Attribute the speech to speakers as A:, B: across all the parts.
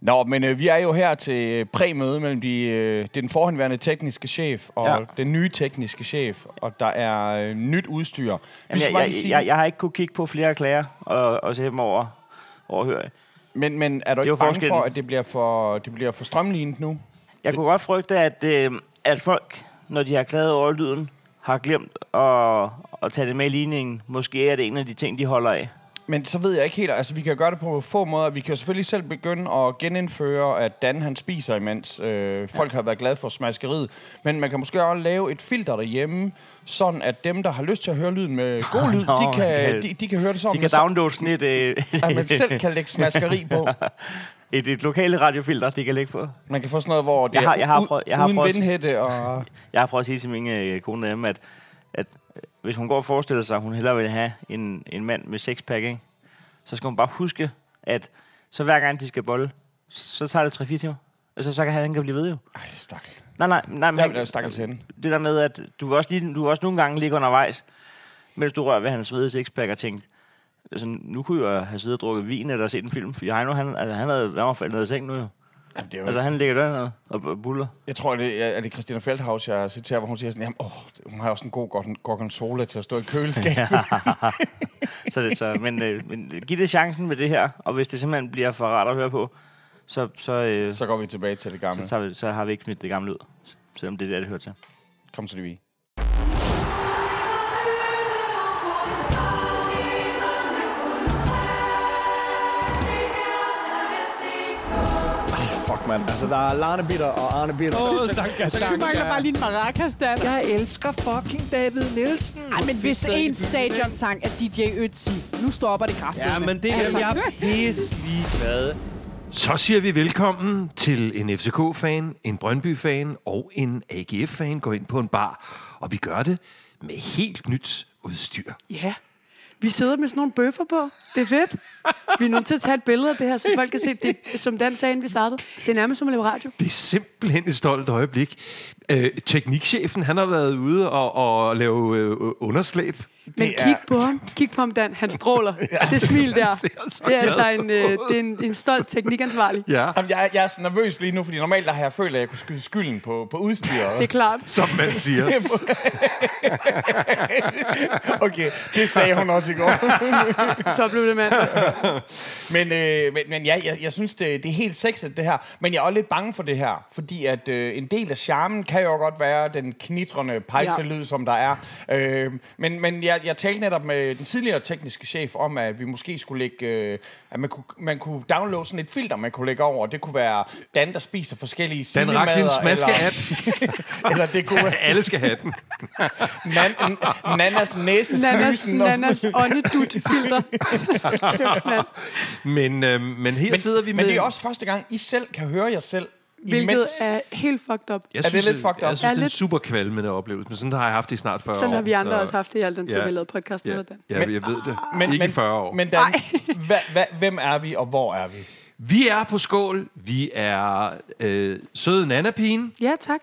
A: Nå, men øh, vi er jo her til præmøde mellem de, øh, det er den forhenværende tekniske chef og ja.
B: Ja.
A: den nye tekniske chef, og der er øh, nyt udstyr. Vi
B: Jamen,
A: skal
B: jeg,
A: bare
B: jeg,
A: lige sige-
B: jeg, jeg har ikke kunne kigge på flere klager og, og se dem over, overhøre.
A: Men, men er du
B: Det er
A: ikke
B: jo
A: bange
B: forskellen.
A: for, at det bliver for, det bliver for strømlignet nu?
B: Jeg kunne godt frygte, at, øh, at folk, når de har klaget over lyden, har glemt at, at tage det med i ligningen. Måske er det en af de ting, de holder af.
A: Men så ved jeg ikke helt, altså vi kan gøre det på få måder. Vi kan jo selvfølgelig selv begynde at genindføre, at Dan han spiser imens. Øh, folk har været glade for smaskeriet. Men man kan måske også lave et filter derhjemme, sådan at dem, der har lyst til at høre lyden med god lyd,
B: Nå,
A: de, kan,
B: øh,
A: de, de kan høre det
B: De
A: sådan,
B: kan
A: så-
B: downloade sådan et, øh,
A: at man selv kan lægge smaskeri på.
B: et, et lokale radiofilter, de kan lægge på.
A: Man kan få sådan noget, hvor det
B: Jeg har- jeg har
A: er u-
B: prøvet- jeg har
A: uden
B: prøvet-
A: vindhætte og...
B: Jeg har prøvet at sige til min øh, kone derhjemme, at, at øh, hvis hun går og forestiller sig, at hun hellere vil have en, en mand med sexpack, ikke? så skal hun bare huske, at så hver gang de skal bolle, så tager det 3-4 timer. Altså, så kan han han kan blive ved jo.
A: Ej, stakkel.
B: Nej, nej, nej. Men
A: Jamen, der er stakkels henne.
B: det der med, at du vil også, lige, du vil også nogle gange ligge undervejs, mens du rører ved hans svede sixpack og tænke, altså, nu kunne jeg have siddet og drukket vin eller set en film, for Heino, han, altså, han, havde, han var faldet ned i seng nu jo.
A: Jamen, det er jo
B: Altså, han ligger der og, og buller.
A: Jeg tror, det er, er det Christina Feldhaus, jeg citerer, hvor hun siger sådan, jamen, åh, hun har også en god gorgon- gorgonzola til at stå i køleskab. Ja.
B: Så det, så, men, øh, men giv det chancen med det her, og hvis det simpelthen bliver for rart at høre på, så, så, øh, så,
A: Så går vi tilbage til det gamle.
B: så, tager vi, så har vi ikke smidt det gamle ud, selvom det er det, det hører til.
A: Kom så lige.
C: Fuck, mand. Altså, der er Larne Bitter og Arne Bitter.
D: Åh, Sanka,
E: Du mangler bare lige en maracas, Dan. Ja.
C: Jeg elsker fucking David Nielsen.
E: Ej, men hvis en stadionsang er DJ Ötzi, nu stopper det kraftigt.
D: Ja, men det er altså. jeg er pisse ligeglad.
F: Så siger vi velkommen til en FCK-fan, en Brøndby-fan og en AGF-fan går ind på en bar. Og vi gør det med helt nyt udstyr.
G: Ja. Vi sidder med sådan nogle bøffer på. Det er fedt. Vi er nødt til at tage et billede af det her, så folk kan se det, som Dan sagde, inden vi startede. Det er nærmest som at lave radio.
F: Det er simpelthen et stolt øjeblik. Øh, teknikchefen, han har været ude og, og lave øh, underslæb.
G: Men
A: Det er-
G: kig på ham. Kig på ham, Dan. Han stråler. Det smil der.
F: ser så
G: Det er altså
F: glad
G: en, øh, det er en, en stolt teknikansvarlig.
F: Ja,
A: Jamen, jeg, er- jeg er så nervøs lige nu, fordi normalt der har jeg følt, at jeg kunne skyde skylden på, på
G: Det er
A: udstyret.
G: klart.
F: som man siger.
A: Okay, det sagde hun også i går.
G: Så blev det mand.
A: Men, øh, men, men ja, jeg, jeg synes, det, det er helt sexet, det her. Men jeg er også lidt bange for det her, fordi at øh, en del af charmen kan jo godt være den knitrende pejselyd, ja. som der er. Øh, men men jeg, jeg talte netop med den tidligere tekniske chef om, at vi måske skulle lægge... Øh, at man kunne, man kunne downloade sådan et filter, man kunne lægge over. Det kunne være Dan, der spiser forskellige
F: Dan
A: sildemader,
F: Raklins maske-app.
A: eller, eller det kunne være
F: Alle skal have den.
A: nan, n- Nannas næse,
G: Nanas,
A: frysen og sådan-
G: nanas åndedut-filter. Kæft, mand.
F: Men, øh, men her
A: Men,
F: sidder vi med...
A: men det er også første gang, I selv kan høre jer selv.
G: Hvilket
A: imens-
G: er helt fucked up.
F: Jeg
A: Er det
F: synes,
A: lidt
F: at-
A: fucked up?
F: Jeg synes,
G: Ja,
F: det er en
G: lidt.
F: super kvalmende oplevelse. Men sådan har jeg haft det i snart 40 år.
G: Sådan har vi andre
F: så-
G: også haft det i al den tid,
F: Ja.
G: vi har lavet podcast med
F: Ja,
G: dig, Dan.
F: ja jeg ved det.
A: Men,
F: Men, Ikke
A: men,
F: i 40 år. Men,
A: Men Dan, hva, hva, hvem er vi, og hvor er vi?
F: vi er på skål. Vi er øh, søde nanapigen.
G: Ja, tak.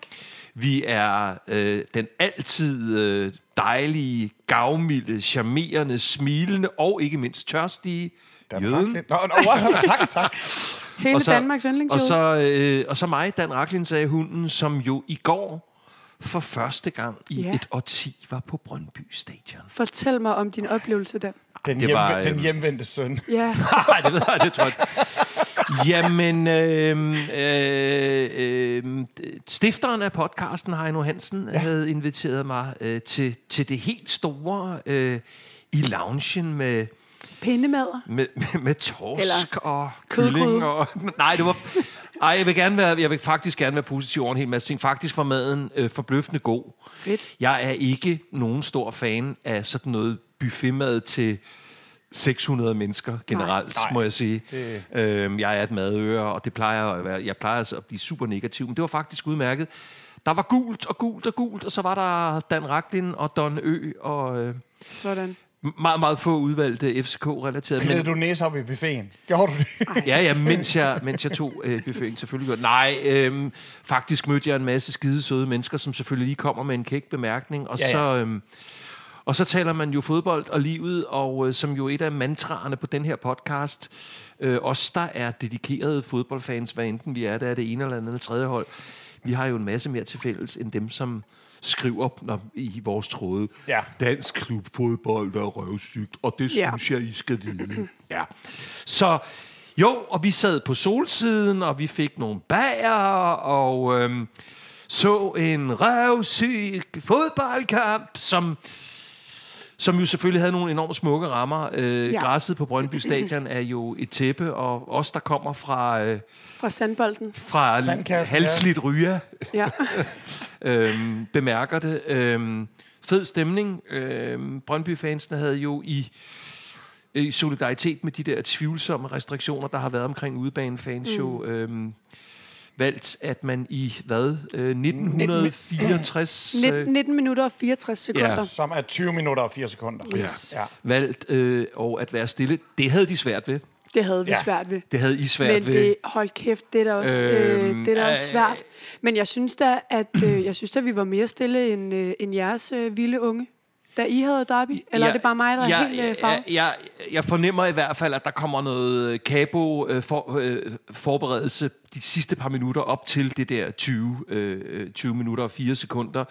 F: Vi er øh, den altid øh, dejlige, gavmilde, charmerende, smilende og ikke mindst tørstige jøden.
A: Nå, nå, wow, tak, tak.
G: Hele Danmarks
F: og
G: yndlingsjord.
F: så, øh, og så mig, Dan Raklin, sagde hunden, som jo i går for første gang i
G: Ja.
F: et årti var på Brøndby Stadion.
G: Fortæl mig om din oplevelse, Dan.
A: Den,
F: Det
A: hjem,
F: var,
A: var, den
F: øhm,
A: hjemvendte søn.
G: Ja,
F: Nej, det ved jeg, det tror jeg ikke. Jamen, øh, øh, øh, stifteren af podcasten, Heino Hansen, ja. havde inviteret mig øh, til, til det helt store øh, i loungen med,
G: pindemader.
F: med, med, med torsk
G: Eller
F: og
G: kødgryde.
F: kylling. Og, nej, det var... Ej, jeg vil, gerne være, jeg vil faktisk gerne være positiv over en hel masse ting. Faktisk var maden øh, forbløffende god.
G: Fedt.
F: Jeg er ikke nogen stor fan af sådan noget buffetmad til 600 mennesker generelt, nej, nej. må jeg sige. Det... Øhm, jeg er et madører, og det plejer at være, jeg plejer altså at blive super negativ, men det var faktisk udmærket. Der var gult og gult og gult, og så var der Dan Raklin og Don Ø, og øh,
G: Sådan.
F: meget, meget få udvalgte FCK-relaterede.
A: Hed du næse op i buffeten? Gjorde du det?
F: Ja, ja, mens jeg, mens jeg tog øh, buffeten selvfølgelig. godt. Nej, øhm, faktisk mødte jeg en masse skide søde mennesker, som selvfølgelig lige kommer med en kæk bemærkning. Og,
A: Ja,
F: ja,
A: ja.
F: ja. så, øhm, Og så taler man jo fodbold og livet, og øh, som jo et af mantraerne på den her podcast, øh, os der er dedikerede fodboldfans, hvad enten vi er, der er det ene eller andet eller tredje hold, vi har jo en masse mere til fælles end dem, som skriver når, i vores tråde,
A: Ja.
F: dansk klubfodbold er røvsygt, og det
G: Ja.
F: synes jeg, I skal vide. ja. Så jo, og vi sad på solsiden, og vi fik nogle bager, og øhm, så en røvsyg fodboldkamp, som som jo selvfølgelig havde nogle enormt smukke rammer. Øh,
G: Ja.
F: ja. Græsset på Brøndby Stadion er jo et tæppe, og os, der kommer fra, øh,
G: Fra sandbolden.
F: fra
A: Sandkassen, ja.
F: halsligt ryger,
G: Ja.
F: øhm, bemærker det. Øhm, fed stemning. Øhm, Brøndby-fansene havde jo i, i solidaritet med de der tvivlsomme restriktioner, der har været omkring udebanefans mm. jo øhm, valgt, at man i hvad? Øh, 1964 øh,
G: 19, 19 minutter og 64 sekunder.
A: Som er 20 minutter og 4 sekunder.
G: Yes.
A: Ja.
F: valgt øh, og at være stille. Det havde de svært ved.
G: Det havde vi
A: Ja.
G: ja. svært ved.
F: Det havde I svært
G: Men
F: ved.
G: det, hold kæft, det er da også, øh,
F: Øhm,
G: det er da også
F: øh,
G: svært. Men jeg synes da, at, øh, jeg synes da, vi var mere stille end, øh, end jeres øh, vilde unge, da I havde derby. Eller ja, er det bare mig, der er helt øh, farvet?
F: jeg, jeg, jeg fornemmer i hvert fald, at der kommer noget øh, kabo øh, for, øh, forberedelse de sidste par minutter op til det der 20, øh, 20 minutter og 4 sekunder.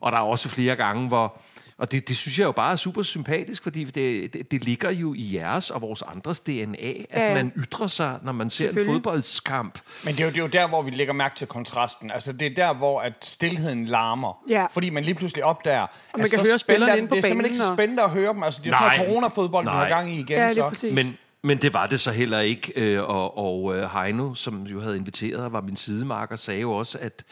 F: Og der er også flere gange, hvor... Og det, det synes jeg jo bare er super sympatisk, fordi det, det, det ligger jo i jeres og vores andres DNA, at
G: Ja, ja.
F: ja. man ytrer sig, når man ser en
G: Selvfølgelig.
F: fodboldskamp.
A: Men det er, jo, det er jo der, hvor vi lægger mærke til kontrasten. Altså, det er der, hvor at stillheden larmer.
G: Ja.
A: Fordi man lige pludselig opdager, og
G: man kan høre spillerne
A: det,
G: inde på
A: Det er simpelthen
G: banen,
A: ikke så
G: og-
A: spændende at høre dem. Altså, det er jo sådan
F: Nej.
A: noget corona-fodbold, vi har
F: Nej.
A: gang i igen.
G: Ja, det
A: så.
G: er præcis. Men,
F: Men, men det var det så heller ikke, øh, og, og øh, Heino, som jo havde inviteret og var min sidemarker, sagde jo også, at,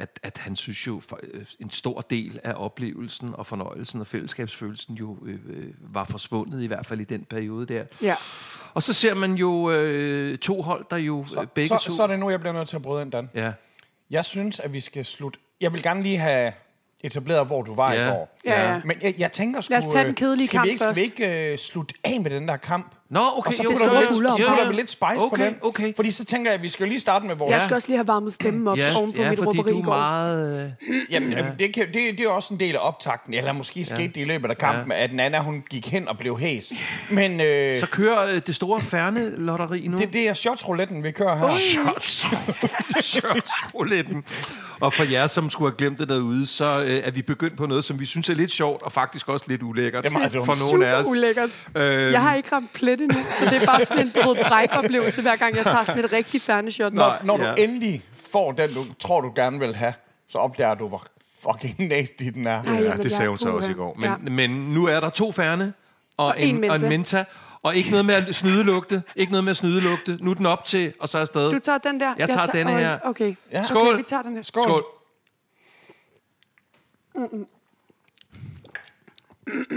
F: at, at han synes jo, for, øh, en stor del af oplevelsen og fornøjelsen og fællesskabsfølelsen jo øh, øh, var forsvundet, i hvert fald i den periode der.
G: ja.
F: Og så ser man jo øh, to hold, der jo så, øh, begge
A: Så,
F: to...
A: så er det nu, jeg bliver nødt til at bryde ind, Dan.
F: Ja.
A: Jeg synes, at vi skal slutte. Jeg vil gerne lige have etableret, hvor du var i
F: Ja.
A: går.
G: Ja, ja.
A: Men jeg, jeg tænker sgu...
G: Lad os tage den
A: øh,
G: kedelige
A: skal
G: kamp
A: vi ikke, Skal vi
G: først.
A: ikke øh, slutte af med den der kamp?
F: Nå, okay.
A: Og så
F: jo,
A: putter vi
G: jo,
A: lidt, så
G: jo, jo.
A: putter vi lidt spice på
F: Okay,
A: den.
F: okay.
A: Fordi så tænker jeg, at vi skal jo lige starte med vores...
G: Jeg skal også lige have varmet stemmen op
F: Ja,
G: oven på
F: ja
G: mit
F: fordi
G: råberi
F: du
G: i
F: er
G: går.
F: meget... Øh,
A: Jamen, ja. det, kan, det, det er jo også en del af optakten, eller måske skete det i løbet af kampen, ja. at Nana hun gik hen og blev hæs. Men øh,
F: så kører øh, det store Ferne-lotteri nu.
A: det, det er shotsrouletten, vi kører her.
F: Shots. Shotsrouletten. Og for jer, som skulle have glemt det derude, så øh, er vi begyndt på noget, som vi synes er lidt sjovt, og faktisk også lidt ulækkert
A: Det er meget dumt.
F: for nogle
G: Super
F: af os.
G: ulækkert.
F: Øhm,
G: Jeg har ikke ramt plet endnu, så det er bare sådan en drød bræk-oplevelse, hver gang jeg tager sådan et rigtig ferneshot.
A: Når, når
F: ja.
A: du endelig får den, du tror, du gerne vil have, så opdager du, hvor fucking nasty den er.
G: Ej,
F: Ja,
G: jamen,
F: det
G: jeg
F: sagde
G: er
F: hun så
G: puha.
F: også i går. Men,
G: Ja.
F: ja. men nu er der to Ferne og, og,
G: en
F: en,
G: Menta.
F: og en Menta. Og ikke noget med at snyde lugte. Ikke noget med at snyde lugte. Nu er den op til, og så er afsted.
G: Du tager den der?
F: Jeg tager denne
G: Øj,
F: her.
G: Okay.
A: Ja.
F: Skål.
G: Okay, vi tager den her.
A: Skål.
F: Skål.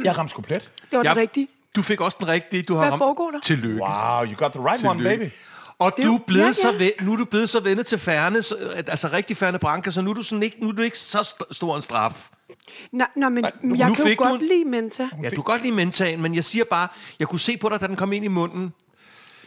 A: Jeg ramte sgu plet.
G: Det var den
F: Ja.
G: rigtige.
F: Du fik også den rigtige. Du har
G: Hvad
F: ramt-
G: foregår der?
F: Tillykke.
A: Wow, you got the right one,
F: Tillykke.
A: baby.
F: Og
G: er
F: du er
G: jo- ja,
F: blevet ja,
G: ja.
F: ja. Så ven, nu er du blevet så vendet til Færne, så, at- altså rigtig Færne Branca, så nu er du, sådan ikke, nu er du ikke så st- stor en straf.
G: Nej, nå, men
F: nu-
G: jeg
F: nu
G: kan jo
F: fik du
G: godt
F: en-
G: lide Menta.
F: Ja, du kan godt lide mentaen, men jeg siger bare, jeg kunne se på dig, da den kom ind i munden.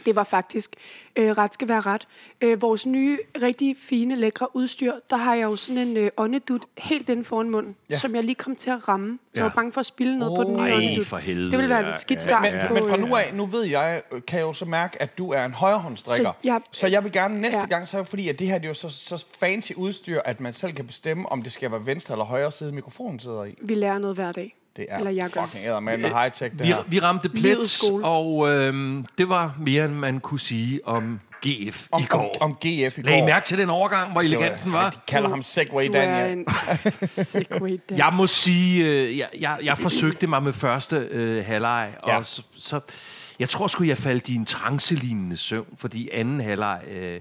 G: Det var faktisk øh, ret skal være ret. Øh, vores nye, rigtig fine, lækre udstyr, der har jeg jo sådan en øh, åndedut helt inde foran munden, ja. som jeg lige kom til at ramme. Så jeg var bange for at spille noget oh, på den nye
B: Ej,
G: åndedut.
B: for helvede,
G: det ville være
B: ja,
G: et skidt
B: ja,
G: start.
A: Men,
G: Ja, ja.
A: men fra nu af, nu ved jeg, øh, kan jeg jo så mærke, at du er en højrehåndsdrikker.
G: Så jeg-
A: så jeg vil gerne næste
G: Ja.
A: ja. gang, så fordi at det her det er jo så, så fancy udstyr, at man selv kan bestemme, om det skal være venstre eller højre side, mikrofonen sidder i.
G: Vi lærer noget hver dag.
A: Det er
G: Eller jeg gør.
A: fucking eddermand med high-tech, det
F: Vi,
A: her.
F: vi ramte
G: Livets
F: plet,
G: skole.
F: og øhm, det var mere, end man kunne sige om GF
A: Om,
F: i går.
A: Om, om GF i går.
F: Lagde I mærke til den overgang, hvor
A: Det var-
F: elegant den var?
A: De kalder ham Segway
G: Du er
A: Daniel.
G: en segway Dan.
F: Jeg må sige, øh, jeg, jeg, jeg forsøgte mig med første øh, halvleg, og
A: Ja.
F: ja. så, så, jeg tror sgu, jeg faldt i en trancelignende søvn, fordi anden halvleg øh,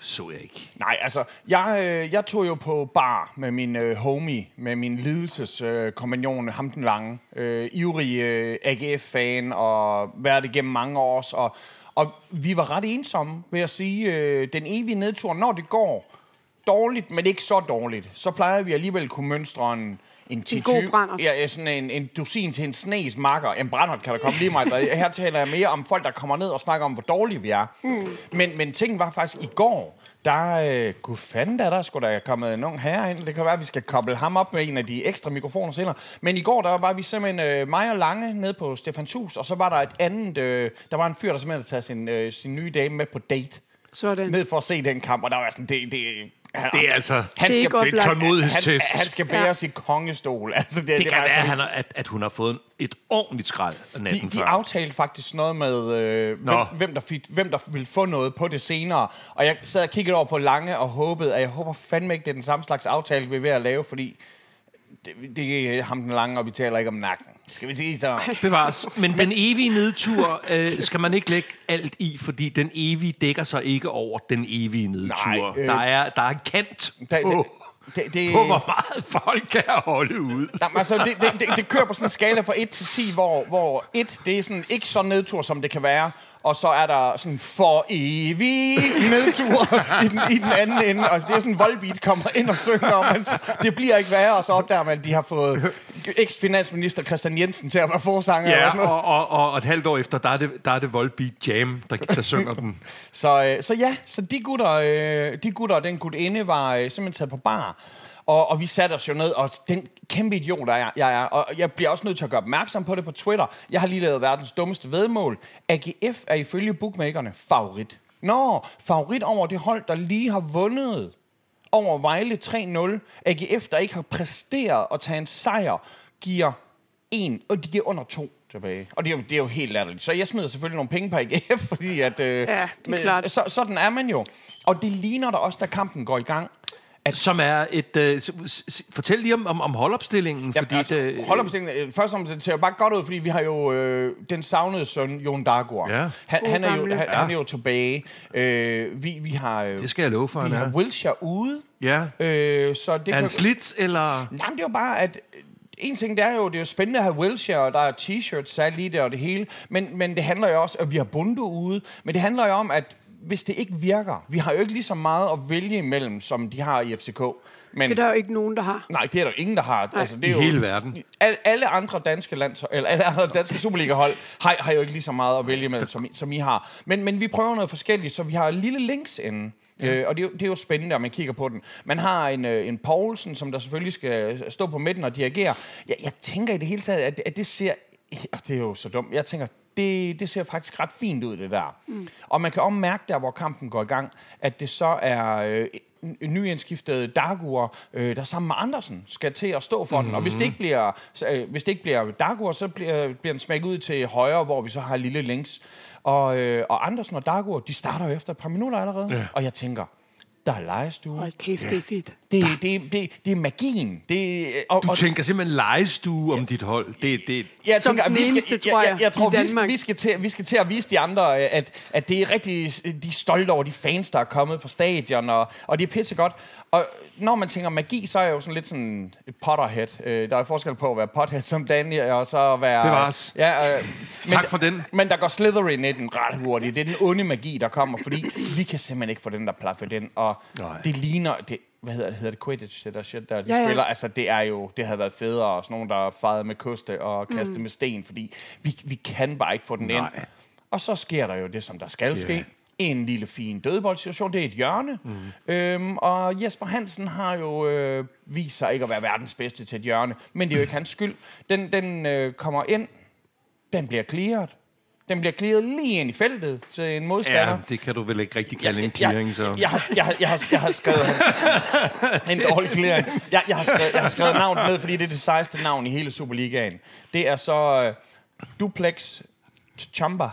F: så jeg ikke.
A: Nej, altså, jeg, øh, jeg tog jo på bar med min øh, homie, med min lidelseskompagnon, øh, kompagnon, ham den lange, øh, ivrig øh, AGF-fan, og været det gennem mange år også, og, og vi var ret ensomme, vil jeg sige. Øh, den evige nedtur, når det går dårligt, men ikke så dårligt, så plejer vi alligevel at kunne mønstre en, en, 10,
G: En god brandert.
A: Ja, ja, sådan en, en dusin til en snes makker. En brændert kan der komme lige meget. hvad. Her taler jeg mere om folk, der kommer ned og snakker om, hvor dårlige vi er. Mm. Men, men ting var faktisk i går, der, øh, gud fanden da, der skulle da kommet en ung herre ind. Det kan være, at vi skal koble ham op med en af de ekstra mikrofoner senere. Men i går, der var vi simpelthen øh, mig og Lange nede på Stefans Hus, og så var der et andet, øh, der var en fyr, der simpelthen havde taget sin, øh, sin nye dame med på date.
G: Sådan.
A: Ned for at se den kamp, og der var sådan, det, det, han,
F: Det er altså
A: han
G: Det er
A: skal,
G: ikke godt
F: en
G: oplagt.
A: han,
F: tålmodighedstest.
A: han skal bæres i kongestol. Altså, det,
F: Det kan
A: var
F: være, at,
A: sådan-
F: han har, at, at hun har fået en- et ordentligt skrald natten
A: de, de
F: før.
A: aftalte faktisk noget med, øh, hvem,
F: Nå.
A: hvem, der fik, hvem der ville få noget på det senere. Og jeg sad og kiggede over på Lange og håbede, at jeg håber fandme ikke, det er den samme slags aftale, vi er ved at lave, fordi det, det er ham den lange, og vi taler ikke om nakken. Skal vi sige så?
F: Bevares. Men den evige nedtur øh, skal man ikke lægge alt i, fordi den evige dækker sig ikke over den evige nedtur.
A: Nej, øh.
F: øh, der, er, der er kant på,
A: Da- Det, det,
F: på, hvor meget folk kan holde ud.
A: Jamen, altså, det, det, det, det kører på sådan en skala fra 1 til 10, hvor, hvor 1, det er sådan ikke så nedtur, som det kan være. Og så er der sådan for evig nedtur i den, i den anden ende. Og det er sådan, Volbeat kommer ind og synger om, at det bliver ikke værre. Og så opdager man, at de har fået eks-finansminister Christian Jensen til at være forsanger. og sådan
F: Ja,
A: noget.
F: og, og, og, og et halvt år efter, der er det, der er det Volbeat Jam, der, der synger den.
A: Så, øh, så ja, så de gutter, øh, de gutter og den gutinde var øh, simpelthen taget på bar. Og, og vi satte os jo ned, og den kæmpe idiot, der jeg, jeg er, og jeg bliver også nødt til at gøre opmærksom på det på Twitter. Jeg har lige lavet verdens dummeste vedmål. AGF er ifølge bookmakerne favorit. Nå, favorit over det hold, der lige har vundet over Vejle 3-0. AGF, der ikke har præsteret at tage en sejr, giver 1, og de giver under 2 tilbage. Og det er, jo, det er jo helt latterligt. Så jeg smider selvfølgelig nogle penge på AGF, fordi at... Øh,
G: Ja, det er klart.
A: Så, sådan er man jo. Og det ligner da også, da kampen går i gang.
F: Som er et... Øh, s- s- fortæl lige om, om, om holdopstillingen,
A: Jamen,
F: fordi...
A: altså,
F: det,
A: hold op, Sten. Øh, Først om det ser jo bare godt ud, fordi vi har jo øh, den savnede søn, Jon Dargaard.
F: Ja.
A: Han,
G: God
A: han, er jo,
G: gamle.
A: han, han er jo tilbage. Øh, vi, vi har, øh,
F: det skal jeg love for,
A: vi
F: han
A: har
F: er.
A: Wilshere ude.
F: Ja.
A: Øh, så det
F: Er han slidt, eller...
A: Jamen, det er jo bare, at øh, en ting, det er jo, det er jo spændende at have Wilshire, og der er t-shirts særligt i det og det hele, men, men det handler jo også, at vi har Bundu ude, men det handler jo om, at hvis det ikke virker, vi har jo ikke lige så meget at vælge imellem, som de har i FCK. Men,
G: Det er der jo ikke nogen, der har.
A: Nej, det er der ingen, der har. Altså, det er
F: I
A: jo,
F: hele verden.
A: Al, alle andre danske lands, eller alle andre danske Superliga-hold har, har jo ikke lige så meget at vælge med, som, I- som I har. Men, men vi prøver noget forskelligt, så vi har lille links inde. Ja. Øh, og det er, jo, det er jo spændende, at man kigger på den. Man har en, øh, en Poulsen, som der selvfølgelig skal stå på midten og dirigere. Jeg, jeg tænker i det hele taget, at, at det ser... Og det er jo så dumt. Jeg tænker, det, det ser faktisk ret fint ud, det der. Mm. Og man kan også mærke der, hvor kampen går i gang, at det så er øh, en- en nyindskiftet Dagur, øh, der sammen med Andersen skal til at stå for mm. den. Og hvis det ikke bliver, så, øh, hvis det ikke bliver Dagur, så bliver, bliver den smækket ud til højre, hvor vi så har lille links. Og, øh, og Andersen og Dagur, de starter jo efter et par minutter allerede. Ja. Og jeg tænker, der er legestue.
G: Hold kæft, det er fedt.
A: Det, det, det, det er magien. Det, øh, og,
F: Du
A: og,
F: tænker simpelthen legestue om dit hold. Det, det,
A: jeg
G: Som
A: tænker, at
G: den
A: vi skal,
G: eneste, tror
A: jeg, jeg,
G: jeg,
A: jeg
G: i
A: tror, vi, skal-
G: Danmark.
A: vi, skal til, vi skal til at vise de andre, øh, at, at det er rigtig, de er stolte over de fans, der er kommet på stadion, og, og det er pissegodt. Og når man tænker magi, så er jeg jo sådan lidt sådan et potterhead. Øh, Der er jo forskel på at være pothead som Daniel, og så at være...
F: Bevares.
A: Ja, øh, men,
F: Tak for den.
A: Men der går Slytherin i den ret hurtigt. Det er den onde magi, der kommer, fordi vi kan simpelthen ikke få den der plaffe den, og
F: Nej.
A: det ligner... Det, hvad hedder, hedder det Quidditch, det der shit, der de
G: Ja,
A: ja,
G: ja.
A: spiller? Altså, det er jo, det havde været federe, og sådan nogen, der fejede med koste og kastede med sten, fordi vi, vi kan bare ikke få den Nej. ind. Og så sker der jo det, som der skal yeah. ske. En lille fin dødboldsituation, det er et hjørne. Mm. Øhm, og Jesper Hansen har jo øh, vist sig ikke at være verdens bedste til et hjørne, men det er jo ikke hans skyld. Den, den øh, kommer ind, den bliver clearet. Den bliver clearet lige ind i feltet til en modstander.
F: ja, det kan du vel ikke rigtig kalde en clearing, så...
A: Jeg, jeg, har, jeg, har, jeg, har, jeg har skrevet hans, en dårlig clearing. Jeg, jeg, har skrevet, jeg har skrevet navnet ned, fordi det er det sejeste navn i hele Superligaen. Det er så øh, Duplex Chamba.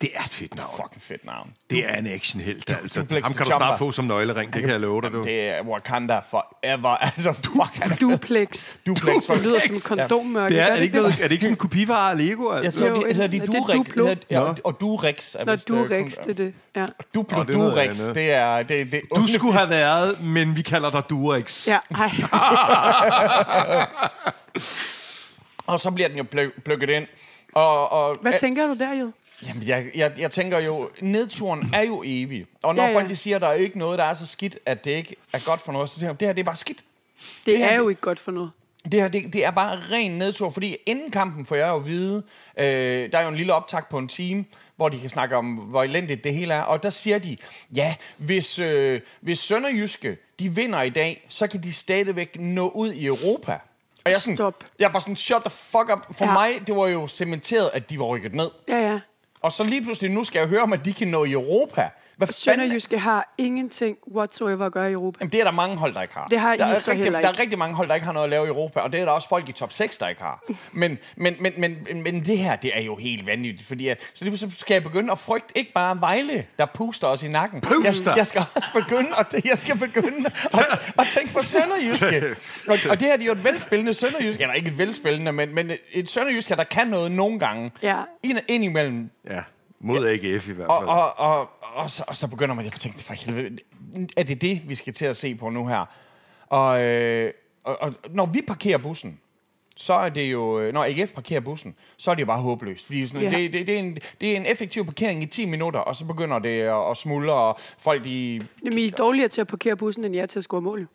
F: Det er et fedt navn.
A: Fucking fedt navn.
F: Det er en actionhelt, altså. Ham
A: blækste
F: kan du
A: chopper.
F: snart få som nøglering, det kan jeg love dig, du.
A: Det er Wakanda forever. Altså, fuck, han er
G: Duplex.
A: Duplex.
G: Det lyder som kondommørke.
F: Det er,
G: gør
F: er, det ikke noget, er det ikke sådan en kopivare af Lego?
A: Jeg
F: Altså?
A: tror,
G: Jo,
A: de, hedder de
G: det er
A: Durek.
G: Duplo.
A: Hedder- ja, og- og Durex. Er
G: Når
A: vist,
G: du
A: øh,
G: Rex,
A: kun-
G: det er det. Ja.
A: Duplo
F: Nå, det er noget
A: Durex,
F: andet.
A: det er... Det, det,
F: Du skulle have været, men vi kalder dig Durex.
G: Ja, ej.
A: Og så bliver den jo plø- plukket ind. Og, og,
G: Hvad tænker du der, jo?
A: Jamen, jeg, jeg, jeg tænker jo, nedturen er jo evig. Og når ja,
G: Ja,
A: ja.
G: ja.
A: folk de siger, at der er ikke noget, der er så skidt, at det ikke er godt for noget, så tænker jeg, det her det er bare skidt.
G: Det
A: her,
G: er jo ikke godt for noget.
A: Det her, det, det er bare ren nedtur, fordi inden kampen får jeg jo at vide, øh, der er jo en lille optakt på en time, hvor de kan snakke om, hvor elendigt det hele er, og der siger de, ja, hvis, øh, hvis Sønderjyske, de vinder i dag, så kan de stadigvæk nå ud i Europa. Og jeg er sådan,
G: Stop.
A: jeg er bare sådan, shut the fuck up. For ja.
G: Ja.
A: mig, det var jo cementeret, at de var rykket ned.
G: Ja, ja.
A: Og så lige pludselig, nu skal jeg høre om, at de kan nå i Europa. Hvad fanden?
G: Sønderjyske har ingenting whatsoever at gøre i Europa.
A: Jamen, det er der mange hold, der ikke har.
G: Det har
A: der
G: I
A: er
G: så
A: rigtig,
G: heller
A: Der er
G: ikke.
A: rigtig mange hold, der ikke har noget at lave i Europa, og det er der også folk i top 6, der ikke har. Men, men, men, men, men, men det her, det er jo helt vanvittigt, fordi jeg, så lige pludselig skal jeg begynde at frygte ikke bare Vejle, der puster os i nakken.
F: Puster!
A: Jeg, jeg skal også begynde, at, jeg skal begynde at, at tænke på Sønderjyske. Og, og det her, det er jo et velspillende Sønderjyske, eller ikke et velspillende, men, men et Sønderjyske, der kan noget nogle gange.
G: Ja.
A: Ind, ind imellem
H: Ja, mod AGF i hvert
A: og,
H: fald.
A: og, og, og, så, og så begynder man at tænke, for helvede, er det det, vi skal til at se på nu her? Og, øh, og, og når vi parkerer bussen, så er det jo, øh, når AGF parkerer bussen, så er det jo bare håbløst. Fordi sådan,
G: Ja.
A: det, det, det, er en, det er en effektiv parkering i 10 minutter, og så begynder det at, at smuldre, og folk de...
G: Jamen, I er dårligere til at parkere bussen, end jeg er til at score mål. jo.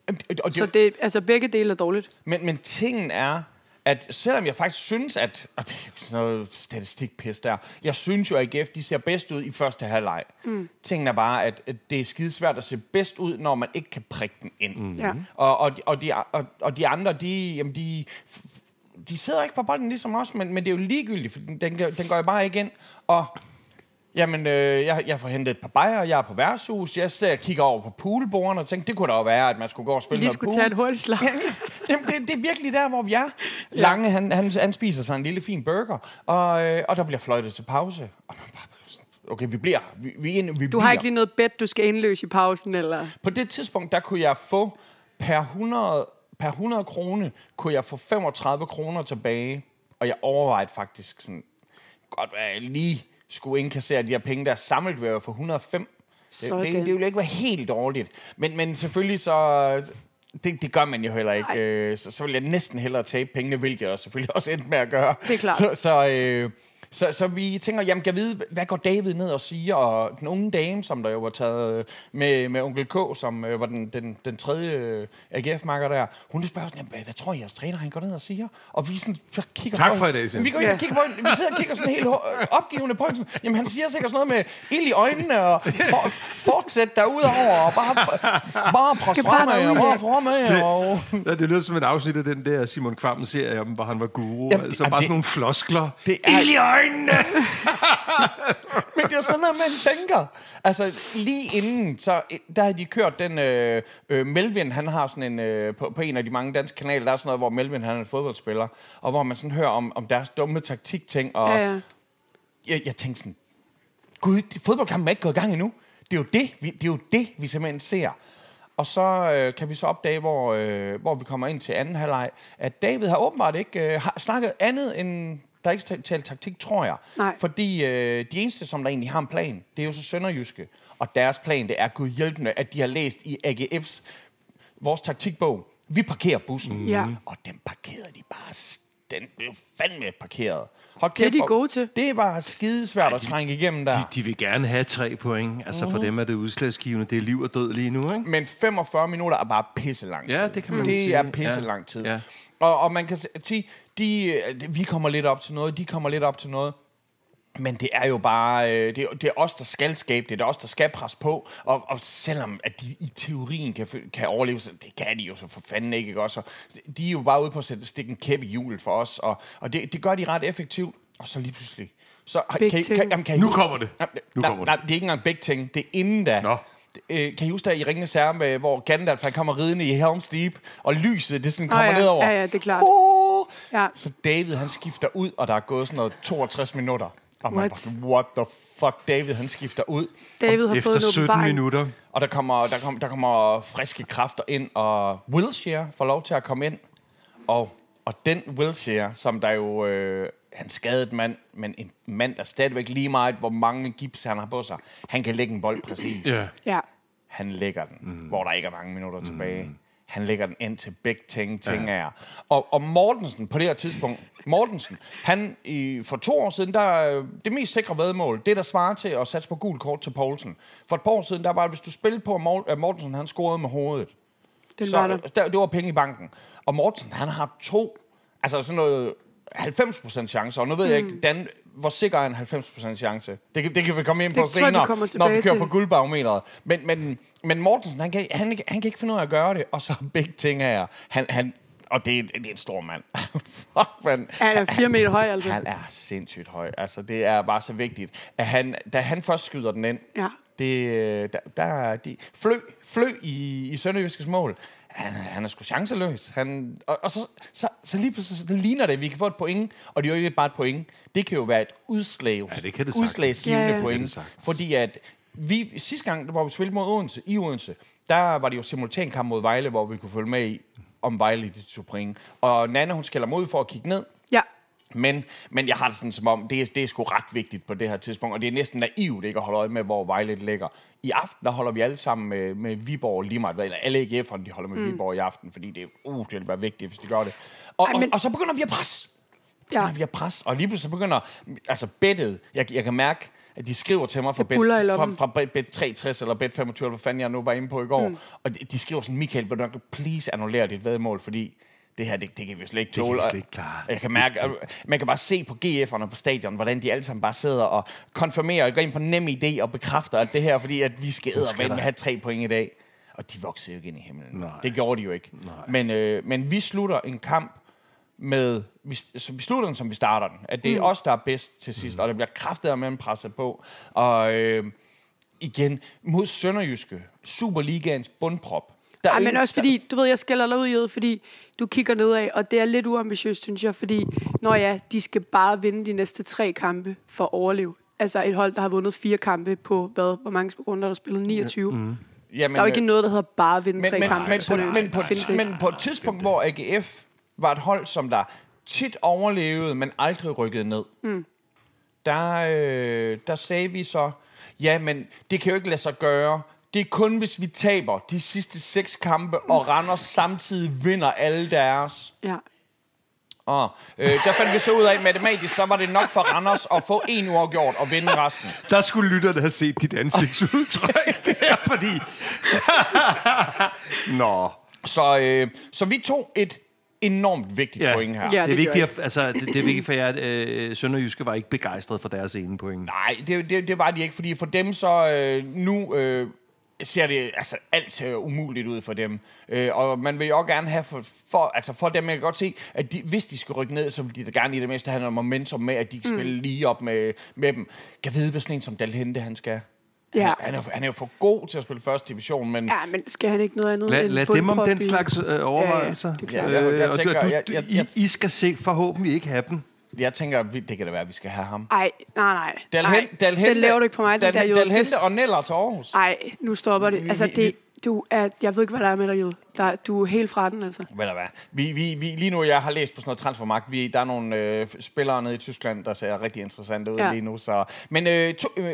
A: Og det,
G: Så det, altså, begge dele er dårligt.
A: Men, men tingen er, at selvom jeg faktisk synes, at... Og det er jo sådan noget statistikpis der. Jeg synes jo, at AGF de ser bedst ud i første halvleg. Mm. Tingen er bare, at, at det er skidesvært at se bedst ud, når man ikke kan prikke den ind. Mm.
G: Ja.
A: Og, og, de- og, de, og, og de andre, de, jamen de, de sidder ikke på bolden ligesom os, men, men det er jo ligegyldigt, for den, den, går- den går jo bare ikke ind. Og jamen, øh, jeg, jeg får hentet et par bajer, jeg er på værtshus, jeg ser, kigger over på poolbordene og tænker, det kunne da jo være, at man skulle gå og spille
G: Lige
A: noget
G: skulle
A: pool.
G: tage et hurtigt slag.
A: Jamen, jamen det, det er virkelig der, hvor vi er. Lange, han, han, han spiser sig en lille fin burger, og, øh, og der bliver fløjtet til pause. Og man bare, sådan, okay, vi bliver. Vi, vi, er inde- vi
G: Du
A: bliver.
G: har ikke lige noget bed, du skal indløse i pausen, eller...
A: På det tidspunkt, der kunne jeg få per 100, per 100 kroner, kunne jeg få 35 kroner tilbage. Og jeg overvejede faktisk sådan, godt være, jeg lige skulle indkassere de her penge, der samlet ville jeg jo for 105. Det, det,
G: Sådan.
A: det ville ikke være helt dårligt. Men, men selvfølgelig så... Det, det gør man jo heller ikke.
G: Ej.
A: Øh, så, så vil jeg næsten hellere tabe pengene, hvilket jeg selvfølgelig også endte med at gøre.
G: Det er klart.
A: Så, så, øh, så, så vi tænker, jamen kan jeg vide, hvad går David ned og siger? Og den unge dame, som der jo var taget øh, med, med onkel K, som øh, var den, den, den tredje øh, AGF-makker der, hun spørger sådan, jamen, hvad, hvad tror I, jeres træner han går ned og siger? Og vi sådan, så kigger
H: Tak
A: på
H: for
A: hende.
H: i dag, siger
A: Vi går ind og kigger på hende. Vi sidder og kigger sådan helt ho- opgivende på hende. sådan, Jamen han siger sikkert sådan noget med ild i øjnene og for, fortsæt derudover og bare, bare prost
G: bare
A: fremad og
G: derudad.
A: bare fremad. Og...
F: Ja, det lyder som et afsnit af den der Simon Kvam serie om, hvor han var guru.
A: Jamen,
F: Jamen,
A: det-
F: altså
A: jamen,
F: bare
A: det-
F: sådan nogle floskler. Det,
A: er... Ild i øjnene! Men det er jo sådan noget, man tænker. Altså, lige inden, så øh, der havde de kørt den... Øh, øh, Melvin, han har sådan en... Øh, på, på en af de mange danske kanaler, der er sådan noget, hvor Melvin, han er en fodboldspiller. Og hvor man sådan hører om, om deres dumme taktikting. Og
G: Ja, ja.
A: jeg, jeg tænkte sådan... Gud, de- fodboldkampen er ikke gået i gang endnu. Det er jo det, vi, det, er jo det, vi simpelthen ser. Og så øh, kan vi så opdage, hvor, øh, hvor vi kommer ind til anden halvleg, at David har åbenbart ikke øh, har snakket andet end... Der er ikke talt- talt taktik, tror jeg.
G: Nej.
A: Fordi øh, de eneste, som der egentlig har en plan, det er jo så Sønderjyske. Og deres plan, det er gudhjælpende, at de har læst i AGF's, vores taktikbog, vi parkerer bussen.
G: Ja.
A: Og den parkerede de bare... s- Den blev fandme parkeret. Hold
G: Det er
A: kæft,
G: de
A: hvor-
G: gode til.
A: det var skidesvært at trænge igennem der.
F: de, de vil gerne have tre point. Altså for dem er det udslagsgivende. Det er liv og død lige nu, ikke?
A: Men 45 minutter er bare pisse lang tid.
F: Ja, det kan man
A: Det
F: sige.
A: er pisse
F: Ja.
A: lang tid.
F: Ja.
A: Og, og man kan s- sige, de, øh, vi kommer lidt op til noget, de kommer lidt op til noget. Men det er jo bare, øh, det, er- det er os, der skal skabe det, det er os, der skal presse på. Og, og selvom at de i teorien kan, fø- kan overleve, så det kan de jo så for fanden ikke, ikke også? Og de er jo bare ude på at sætte, stikke en kæppe i hjulet for os, og, og det, det gør de ret effektivt. Og så lige pludselig, så
G: Big
A: kan, I- kan,
G: thing.
A: jamen, kan I
H: Nu
A: huske-
H: kommer det.
A: Nej,
H: Nu
A: nej,
H: kommer
A: nej, det er ikke engang begge ting. Det er inden da.
H: Nå.
A: Øh, kan I huske der i Ringens Herre, med, øh, hvor Gandalf han kommer ridende i Helm's Deep, og lyset det sådan
G: Nå
A: kommer
G: ja,
A: nedover?
G: ja, ja, det er klart.
A: Oh!
G: Ja.
A: Så David han skifter ud, og der er gået sådan noget 62 minutter. Og man
G: What?
A: bare, sådan, what the fuck, David han skifter ud.
G: David har fået
F: Efter
G: en
F: 17
G: åbenbaring.
F: minutter.
A: Og der kommer, der, kom, der kommer friske kræfter ind, og Wilshere får lov til at komme ind. Og, og den Wilshere, som der jo... Øh, han er skadet mand, men en mand, der stadigvæk lige meget, hvor mange gips han har på sig. Han kan lægge en bold præcis.
F: Ja.
G: Ja.
A: Han lægger den, mm. hvor der ikke er mange minutter tilbage. Han lægger den ind til begge ting, tænker jeg. Og, og Mortensen på det her tidspunkt, Mortensen, han i, for to år siden, der øh, det mest sikre vedmål, det der svarer til at satse på gul kort til Poulsen. For et par år siden, der var det, hvis du spillede på, at Mor- at Mortensen han scorede med hovedet,
G: Den
A: så,
G: var der.
A: der. Det var penge i banken. Og Mortensen, han har to, altså sådan noget 90% chance, og nu ved mm. jeg ikke, Dan, hvor sikker er en 90% chance? Det, kan- det kan vi komme ind
G: Det
A: på
G: tror jeg, vi
A: senere,
G: kommer
A: når vi
G: tilbage
A: kører
G: til.
A: på guldbarometeret. Men, men, men Mortensen, han kan, han, han kan ikke finde ud af at gøre det, og så begge ting er, han, han, og det er, det er en stor mand. Fuck, man.
G: Han er fire meter høj, altså.
A: Han er sindssygt høj. Altså, det er bare så vigtigt. At han, da han først skyder den ind,
G: Ja.
A: det, øh, der, der er de, flø, flø i, i Sønderjyskes mål. Han, han er sgu chanceløs. Han, og, og så, så, så lige pludselig så ligner det, at vi kan få et point, og det er jo ikke bare et point. Det kan jo være et udslag,
H: Ja, det kan det sagtens.
A: udslagsgivende
G: Ja,
A: ja,
G: ja. Det
A: ja.
H: kan det
A: point.
H: sagtens.
A: Fordi at vi, sidste gang, hvor vi spillede mod Odense, i Odense, der var det jo simultankamp mod Vejle, hvor vi kunne følge med i, om Vejle i det tog point. Og Nana, hun skælder mod for at kigge ned,
G: Ja,
A: men, men jeg har det sådan som om, det er, det er sgu ret vigtigt på det her tidspunkt, og det er næsten naivt ikke at holde øje med, hvor Vejle ligger. I aften, der holder vi alle sammen med, med Viborg lige meget, hvad, eller alle AGF'erne, de holder med mm. Viborg i aften, fordi det, uh, det vil være vigtigt, hvis de gør det. Og,
G: Ej,
A: Ej, men...
G: men-
A: og, og så begynder vi at presse.
G: Ja.
A: Ja. Begynder vi at presse, og lige pludselig så begynder, altså bettet, jeg, jeg kan mærke, at de skriver til mig fra bet,
G: buldrer i
A: fra,
G: lommen.
A: fra bet- bet 63 eller bet 25, eller hvad fanden jeg nu var inde på i går, mm. og de, de skriver sådan, Michael, vil du nok please annullere dit vedmål, fordi det her, det, det kan vi slet ikke
H: kan vi
A: tåle.
H: slet
A: Og-
H: ikke klare.
A: og jeg kan mærke, at man kan bare se på GF'erne på stadion, hvordan de alle sammen bare sidder og konfirmerer og går ind på nem idé og bekræfter, at det her er fordi, at vi skal med at have tre point i dag. Og de voksede jo ikke ind i himlen.
H: Nej.
A: Det gjorde de jo ikke. Men, øh, men vi slutter en kamp med, vi, så vi slutter den, som vi starter den. At det er mm. os, der er bedst til sidst, mm. og det bliver kraftet med en presse på. Og øh, igen, mod Sønderjyske, Superligaens bundprop. Der er
G: Ej,
A: ikke-
G: men også fordi, du ved, jeg skælder dig ud i øjet, fordi du kigger nedad, og det er lidt uambitiøst, synes jeg, fordi, når ja, de skal bare vinde de næste tre kampe for at overleve. Altså et hold, der har vundet fire kampe på, hvad, hvor mange runder er der spillet? 29. Mm.
A: Jamen,
G: Der er jo
A: øh,
G: ikke noget, der hedder bare at vinde
A: men,
G: tre
A: men,
G: kampe.
A: men, på,
G: sådan er det.
A: men, på,
G: Findes ikke.
A: men på et tidspunkt, hvor AGF var et hold, som der tit overlevede, men aldrig rykkede ned, mm. der, øh, der sagde vi så, ja, men det kan jo ikke lade sig gøre. Det er kun, hvis vi taber de sidste seks kampe, og
G: Mm.
A: Randers samtidig vinder alle deres.
G: ja.
A: Og, øh, der fandt vi så ud af, at matematisk, der var det nok for Randers at få en uafgjort og vinde resten.
H: Der skulle lytterne have set dit ansigtsudtryk der, fordi... Nå.
A: Så, øh, så vi tog et enormt vigtigt
F: Ja.
A: point her.
G: Ja,
F: det, er
G: det gør
F: vigtigt, at, altså, det, det er vigtigt for jer, at øh, Sønderjyske var ikke begejstret for deres ene point.
A: Nej, det, det, det var de ikke, fordi for dem så øh, nu øh, ser det altså alt ser umuligt ud for dem. Øh, og man vil jo også gerne have for, for, altså for dem, jeg kan godt se, at de, hvis de skal rykke ned, så vil de da gerne i det mindste have noget momentum med, at de
G: Mm.
A: kan spille lige op med, med dem. Kan vide, hvad sådan en som Dalhente han skal. Han,
G: Ja.
A: er- han, er, han er jo for god til at spille første division, men...
G: ja, men skal han ikke noget andet
F: Lad,
G: end
F: lad dem om
G: bundprop
F: den
G: i-
F: slags øh, overvejelser.
G: det er
A: klart.
F: Øh,
A: Jeg- jeg
F: og du-
A: tænker-
F: du-
A: jeg- jeg-
F: I-
A: jeg-
F: I skal se, forhåbentlig ikke have dem.
A: Jeg tænker, vi- det kan da være, at vi skal have ham.
G: Ej, nej, nej.
A: Dalhen,
G: Ej,
A: Dalhente,
G: Den laver du ikke på mig, den der
A: Dalhente,
G: jøde. Det-
A: Dalhente og Neller til Aarhus.
G: Ej, nu stopper det. Altså,
A: vi-
G: det, du er, jeg ved ikke, hvad der er med dig, Jød. Der, du er helt fra den, altså.
A: Ved du hvad? Vi, vi, vi, lige nu, jeg har læst på sådan noget transfermarkt. Vi, der er nogle øh, spillere nede i Tyskland, der ser rigtig interessante ud
G: Ja.
A: ja. lige nu. Så. Men øh, to, øh,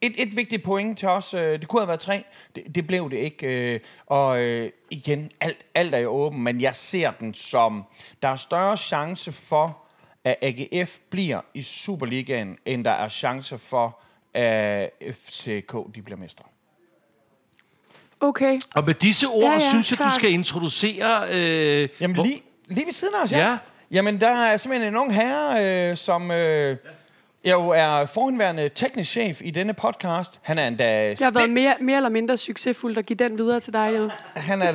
A: et, et vigtigt point til os. Øh, det kunne have været tre. Det, det blev det ikke. Øh, og øh, igen, alt, alt er jo åbent, men jeg ser den som, der er større chance for, at AGF bliver i Superligaen, end der er chance for, at FCK de bliver mestre.
G: Okay.
F: Og med disse ord
G: Ja,
F: ja,
G: ja,
F: ja, synes jeg,
G: klart.
F: du skal introducere... Øh,
A: Jamen
F: hvor-
A: lige, lige ved siden af os,
F: Ja.
A: Jamen, der er simpelthen en ung herre, øh, som øh, jo er forhenværende teknisk chef i denne podcast. Han er endda...
G: Jeg har været
A: stil-
G: mere, mere eller mindre succesfuld at give den videre til dig, Jød.
A: han, er,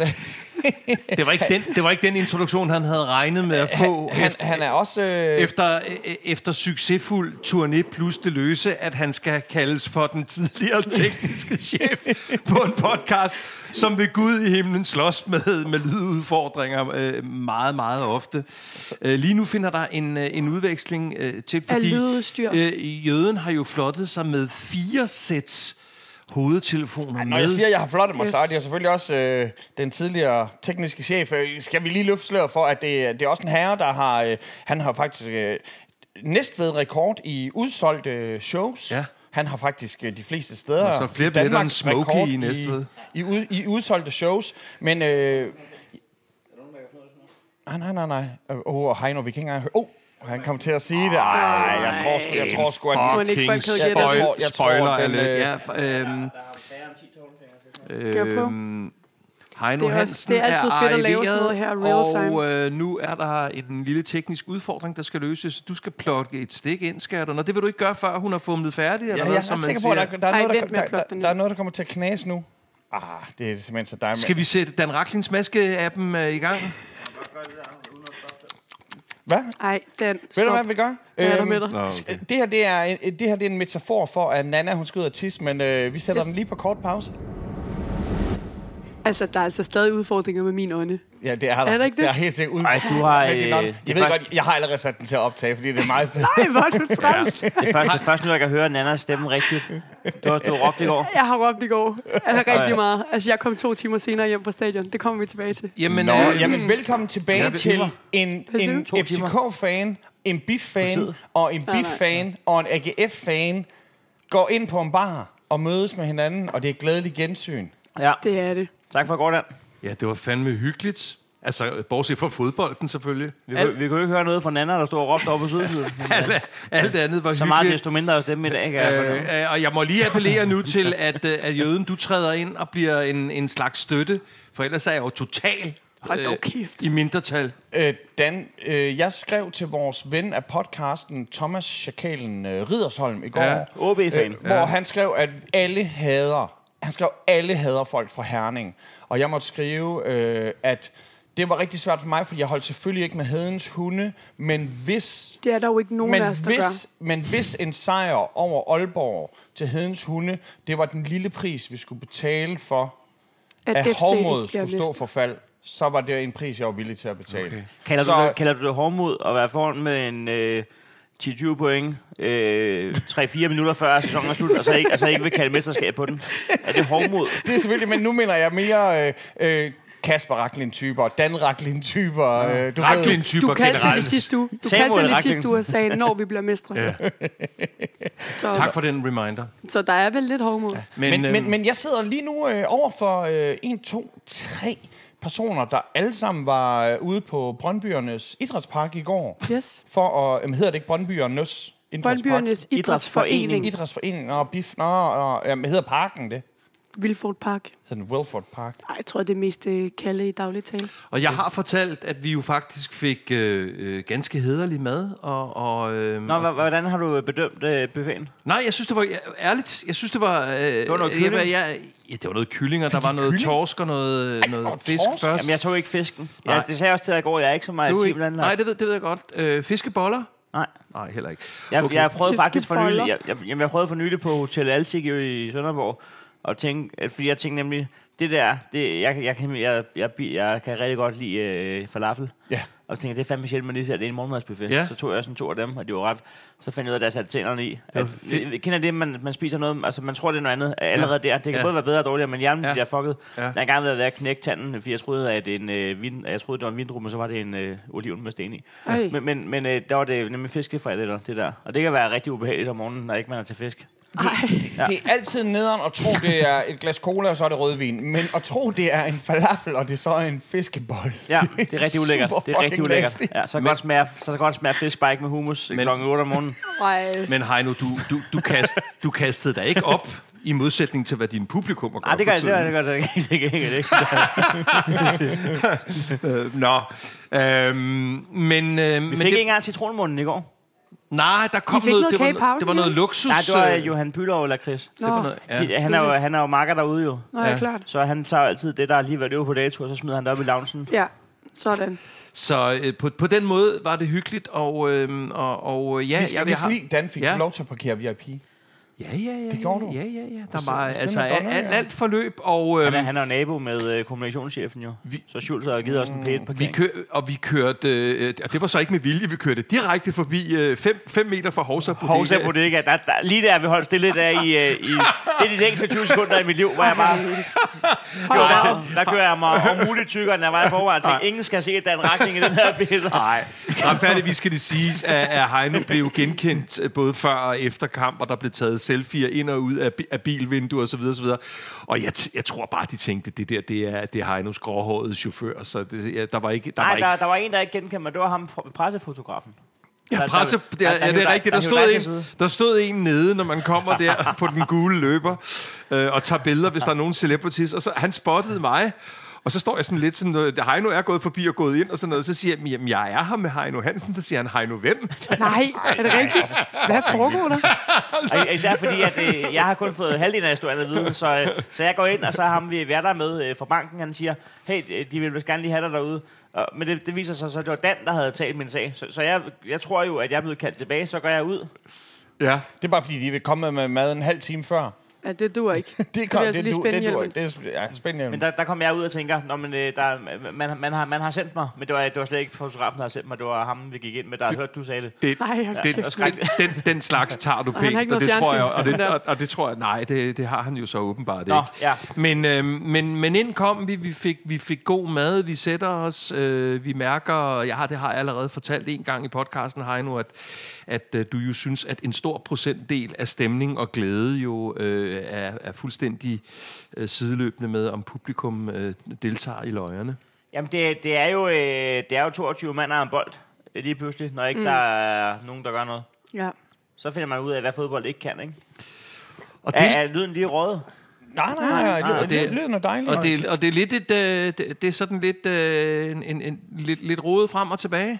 F: Det var, ikke den, det var ikke den introduktion, han havde regnet med at få
A: han, han er også... Øh,
F: efter, øh, efter succesfuld turné plus det løse, at han skal kaldes for den tidligere tekniske chef på en podcast, som ved Gud i himlen slås med, med lydudfordringer øh, meget, meget ofte. Øh, lige nu finder der en, øh, en udveksling øh, til, fordi
G: lydudstyr.
F: øh, jøden har jo flottet sig med fire sæts hovedtelefoner
A: når jeg
F: med.
A: siger, at jeg har flottet mig,
G: Yes.
A: så er det jo selvfølgelig også øh, den tidligere tekniske chef. Øh, Skal vi lige løfte sløret for, at det, det er også en herre, der har... Øh, han har faktisk øh, næstved rekord i udsolgte øh, shows.
F: Ja.
A: Han har faktisk øh, de fleste steder...
F: Og så flere
A: i
F: billetter end
A: Danmarks
F: Smokey
A: rekord
F: i Næstved.
A: I, i, ud, I udsolgte shows, men... Øh, Nej, nej, nej, nej. Åh, oh, Heino, vi kan ikke engang høre... Oh, han kom til at sige det. Ej, jeg tror sgu, jeg tror sgu, at...
G: Må ikke folk havde
A: jeg
G: gættet?
A: tror- jeg tror,
F: spoiler
A: den,
F: alert.
A: øh,
F: Ja, f- øhm,
G: Skal jeg prøve?
F: øhm, Heino
G: Det er også-
F: Hansen
G: det er altid
F: er
G: fedt at lave
F: arriveret,
G: sådan noget her real time.
F: Og øh, nu er der en lille teknisk udfordring, der skal løses. Du skal plukke et stik ind, skat, og det vil du ikke gøre, før hun har fumlet færdig. Eller
A: Ja, jeg
F: noget,
A: er
F: som
A: ret
F: man
A: sikker på, at
F: siger.
A: der, der, er
G: Ej,
A: noget,
G: vent
A: der,
G: med at
A: der,
G: plukke
A: der,
G: den
A: der er
G: ud.
A: noget, der kommer til at knase nu. Ah, det er simpelthen så dejligt.
F: Skal vi sætte Dan Racklins maske-appen øh, i gang?
A: Hvad?
G: Ej, den.
A: Ved du,
G: stop.
A: hvad vi gør?
G: Hvad er der
A: Øhm,
G: med dig?
F: Nå, okay.
A: Det her, det er, en, det her det er en metafor for, at Nana hun skal ud og tisse, men øh, vi sætter
G: Yes.
A: den lige på kort pause.
G: Altså, der er altså stadig udfordringer med min ånde.
A: Ja, det er der.
G: Er der ikke det?
A: Jeg er helt sikkert ud.
B: Ej, du har...
A: Men det er godt.
B: øh,
A: Jeg
B: det er
A: ved
B: fak-
A: godt, jeg har allerede sat den til at optage, fordi det er meget fedt.
G: Ej, hvor er du træls.
B: Det er først, det er først nu, jeg kan høre Nannas stemme rigtigt. Du har, du har råbt i går.
G: Jeg har råbt i går. Altså, rigtig meget. Altså, jeg kom to timer senere hjem fra stadion. Det kommer vi tilbage til.
F: Jamen,
A: Nå,
F: øh,
A: jamen velkommen tilbage
F: Ja,
A: ja,
F: det-
A: til en,
G: siger
A: en
B: du? To timer.
A: FCK-fan, en BIF-fan og en
G: Nej, nej.
A: BIF-fan og en AGF-fan går ind på en bar og mødes med hinanden, og det er glædeligt gensyn.
B: Ja,
G: Det er det.
B: tak for i går, Dan.
F: ja, det var fandme hyggeligt. Altså, bortset fra fodbolden selvfølgelig.
B: Vi, kunne, vi kunne ikke høre noget fra Nana, der stod og råbte oppe på sydsiden.
F: Alt, alt andet var
B: Så meget
F: hyggeligt.
B: desto mindre at stemme i dag, kan jeg fornemme.
F: Øh, øh, og jeg må lige appellere nu til, at, øh, at jøden, du træder ind og bliver en, en slags støtte, for ellers er jeg jo total øh,
G: Hold dog kæft.
F: i mindretal.
A: Øh, Dan, øh, jeg skrev til vores ven af podcasten, Thomas Schakalen øh, Ridersholm, i går,
F: Ja.
B: OB-fan.
A: øh, hvor han skrev, at alle hader, han skrev, alle hader folk fra Herning. Og jeg måtte skrive, øh, at det var rigtig svært for mig, fordi jeg holdt selvfølgelig ikke med hedens hunde, men hvis
G: Det er der jo ikke nogen af
A: men
G: os, der gør.
A: hvis, men hvis en sejr over Aalborg til Hedens Hunde, det var den lille pris, vi skulle betale for, at
G: FC
A: Hovmod
G: ikke bliver
A: skulle stå
G: næste.
A: for fald, så var det en pris, jeg var villig til at betale. Okay.
B: Kalder,
A: så,
B: du, det- kalder du det hårdmod at være foran med en øh, 10-20 point øh, 3-4 minutter før sæsonen er slut, og så ikke, altså ikke vil kalde mesterskab på den? Er det hårdmod?
A: det er selvfølgelig, men nu mener jeg mere øh, øh, Kasper Raklin-typer, Dan Raklin-typer. Øh, du ved,
G: Du
F: Raklin-typer
G: kaldte det
F: generelt.
G: i sidste uge. Du
B: Samuel
G: kaldte det i
B: Racklin.
G: sidste uge og sagde, når vi bliver mestre.
F: Ja.
G: Så,
F: Tak for den reminder. øhm,
G: så der er vel lidt hovmod.
A: men, men,
G: øh,
A: men, men jeg sidder lige nu øh, over for øh, 1, 2, 3 personer, der alle sammen var øh, ude på Brøndbyernes Idrætspark i går,
G: Yes.
A: for at, øh, jamen, hedder det ikke Brøndbyernes Idrætspark?
G: Brøndbyernes Idrætsforening.
A: Idrætsforening, og BIF, nå, og, jamen, hedder parken det?
G: Vilfort Park.
A: Hedder den Wilford Park?
G: Ej, jeg tror, det er mest øh, kalde i daglig tale.
F: Og jeg har fortalt, at vi jo faktisk fik øh, øh, ganske hederlig mad. Og, og, øh,
B: Nå, h- hvordan har du bedømt øh, buffeten?
F: nej, jeg synes, det var ja, ærligt. Jeg synes, det var... Øh, det
B: var noget
F: Jeg,
B: kylling?
F: jeg, ja, det var noget kyllinger. Der var noget
A: kylling?
F: torsk og noget, Ej,
A: og
F: noget fisk
A: torsk?
F: først.
B: Jamen, jeg tog ikke fisken.
F: Nej.
B: Jeg, det sagde jeg også til dig i går, jeg er ikke så meget
F: Du er
B: team
F: ikke-
B: landlagt.
F: Nej, det ved, det ved jeg godt. Øh, fiskeboller?
B: Nej.
F: Nej, heller ikke.
B: Jeg, okay. jeg prøvede faktisk for nylig,
G: Fiskeboller.
B: jeg, jeg, jamen, jeg prøvede for nylig på Hotel Alsik i, i Sønderborg, og tænke, at, fordi jeg tænkte nemlig, det der, det, jeg, kan- jeg, kan, jeg, jeg, jeg kan rigtig godt lide øh, falafel.
A: Ja.
B: Og så tænkte, jeg, det er fandme sjældent, man lige ser, at det er en morgenmadsbuffet.
F: Ja.
B: Så tog jeg sådan to af dem, og de var ret. Så fandt jeg ud af, at der satte tænderne i. At,
F: fedt.
B: kender det, man, man spiser noget, altså man tror, det er noget andet allerede der. Det kan
F: Ja.
B: både være bedre og dårligere, men hjernen
F: Ja.
B: ja. bliver fucket.
F: Ja.
B: Ja. Jeg har engang været ved at knække tanden, fordi jeg troede, at en, øh, vin, jeg troede, det var en vindrum, og så var det en øh, oliven med sten i.
G: Ej.
B: Men, men, men øh, der var det nemlig fiskefrikadeller, det der. Og det kan være rigtig ubehageligt om morgenen, når ikke man er til fisk.
A: Ja. Det er altid nederen at tro, det er et glas cola, og så er det rødvin. Men at tro, det er en falafel, og det så er en fiskebolle.
B: Ja, det er rigtig ulækkert.
A: super
B: Det er rigtig
A: fucking
B: ulækkert.
A: nasty.
B: Ja, så kan godt smage, så kan godt smage fisk, bare ikke med hummus men, klokken 8 om morgenen.
G: Ej,
F: Men Heino, du, du, du, kast, du kastede dig ikke op i modsætning til, hvad din publikum gør.
B: Nej, det gør
F: for
B: det,
F: tiden.
B: gør- det gør det ikke. Det gør det ikke.
F: Øh, Nå. Øhm, men, øh,
B: Vi
F: men
B: fik ikke
F: det,
B: engang citronmunden i går.
F: nej, der kom
G: I fik noget
F: det,
G: kage i
F: var,
G: pausen,
F: det var noget luksus.
B: Nej, det var
F: øh,
B: øh, Johan Pylov eller Chris.
G: nå,
F: det var noget, ja.
B: De, han, er jo, han er jo marker derude jo.
G: nå, ja.
F: Ja.
G: klart.
B: Så han tager jo altid det, der lige været øve på dato, og så smider han det op i loungen.
G: Ja, sådan.
F: Så øh, på, på den måde var det hyggeligt, og, øh, og, og øh, ja,
A: Vi skal
F: jeg,
A: ja,
F: jeg
A: vist lige, Dan fik
F: Ja.
A: ja. lov til at parkere VIP.
F: Ja, ja, ja.
A: Det gjorde du.
F: Ja, ja, ja. Der
A: Ved
F: var
A: siden- ved
F: altså
A: siden af
F: alt,
A: Donald,
F: alt,
A: ja.
F: alt forløb, og
B: Han er,
F: øh,
B: han er jo nabo med øh, kommunikationschefen jo.
F: Vi- Mm.
B: Så Schultz har givet os en pæt
F: vi
B: parkering.
F: kø, og vi kørte, øh, og det var så ikke med vilje, vi kørte direkte forbi 5 øh, fem, fem meter fra Hovsa Bodega.
B: Hovsa Bodega, der, der, lige der vi holdt stille der i, øh, i det er de længste 20 sekunder i mit liv, hvor jeg bare,
G: Hold da op.
B: der kører jeg mig om muligt tykkere, end jeg var i forvejen. Jeg tænkte, ingen skal se, at der er en retning i den her pisse. Nej.
F: Retfærdigvis skal det siges, at, at Heino blev genkendt øh, både før og efter kamp, og der blev taget selfies ind og ud af, bi- af bilvinduer osv. osv. Og jeg, t- jeg tror bare, de tænkte, det der det er, det er Heinos gråhårede chauffør, så det, ja, der var ikke... Der var
B: Nej,
F: ikke
B: der, der var en, der ikke kendte mig. Det var ham, fra- pressefotografen.
F: ja, presse, der, ja, det er rigtigt. Der stod, en, der stod en nede, når man kommer der på den gule løber, øh, og tager billeder, hvis der er nogen celebrities. Og så han spottede mig, Og så står jeg sådan lidt sådan noget, Heino er gået forbi og gået ind og sådan noget, så siger jeg, "Jamen, jamen, jeg er her med Heino Hansen, så siger han, Heino hvem?
G: Nej, er det rigtigt? Hvad foregår der?
B: Og især fordi, at øh, jeg har kun fået halvdelen af historien at vide, så, øh, så jeg går ind, og så har ham vi værter med øh, fra banken, han siger, hey, øh, de vil vist gerne lige have dig derude. Og, men det, det viser sig så, at det var Dan, der havde talt min sag. Så, så jeg, jeg tror jo, at jeg er blevet kaldt tilbage, så går jeg ud.
F: Ja,
A: Det er bare, fordi de vil komme med mad en halv time før.
G: Ja, det dur ikke.
A: Det,
G: Skal
A: kom, det,
G: vi altså lige
A: du,
G: spænde
A: det, du,
G: hjelmen?
A: det er sp- ja, spændende.
B: Men der, der kom jeg ud og tænker, Nå, men, øh, der, man, man, har, man har sendt mig, men det var, det var slet ikke fotografen, der har sendt mig, det var ham, vi gik ind med, der har hørt, du sagde det.
F: det,
G: Nej, hold
F: det,
G: kæft,
F: den, den, den slags tager du
G: han har
F: pænt,
G: ikke
F: og det
G: noget
F: tror jeg,
G: fjernsyn.
F: og det, og, og det tror jeg, nej, det, det har han jo så åbenbart
B: Nå,
F: ikke.
B: ja.
F: Men, øh, men, men ind kom vi, vi fik, vi fik god mad, vi sætter os, øh, vi mærker, jeg har, det har jeg allerede fortalt en gang i podcasten, Heino, at, at øh, du jo synes, at en stor procentdel af stemning og glæde jo øh, er, er fuldstændig øh, sideløbende med, om publikum øh, deltager i løjerne.
B: Jamen, det, det, er jo, øh, det er jo 22 mand og en bold øh, lige pludselig, når ikke mm. der er nogen, der gør noget.
G: Ja.
B: Så finder man ud af, hvad fodbold ikke kan, ikke?
F: Og
B: Er, er lyden lige røget?
A: nej, nej, nej, nej, det,
F: og
A: det, lyden er dejlig.
F: Og det, og det er lidt et, øh, det, det er sådan lidt, øh, en, en, en, lidt, lidt rodet frem og tilbage.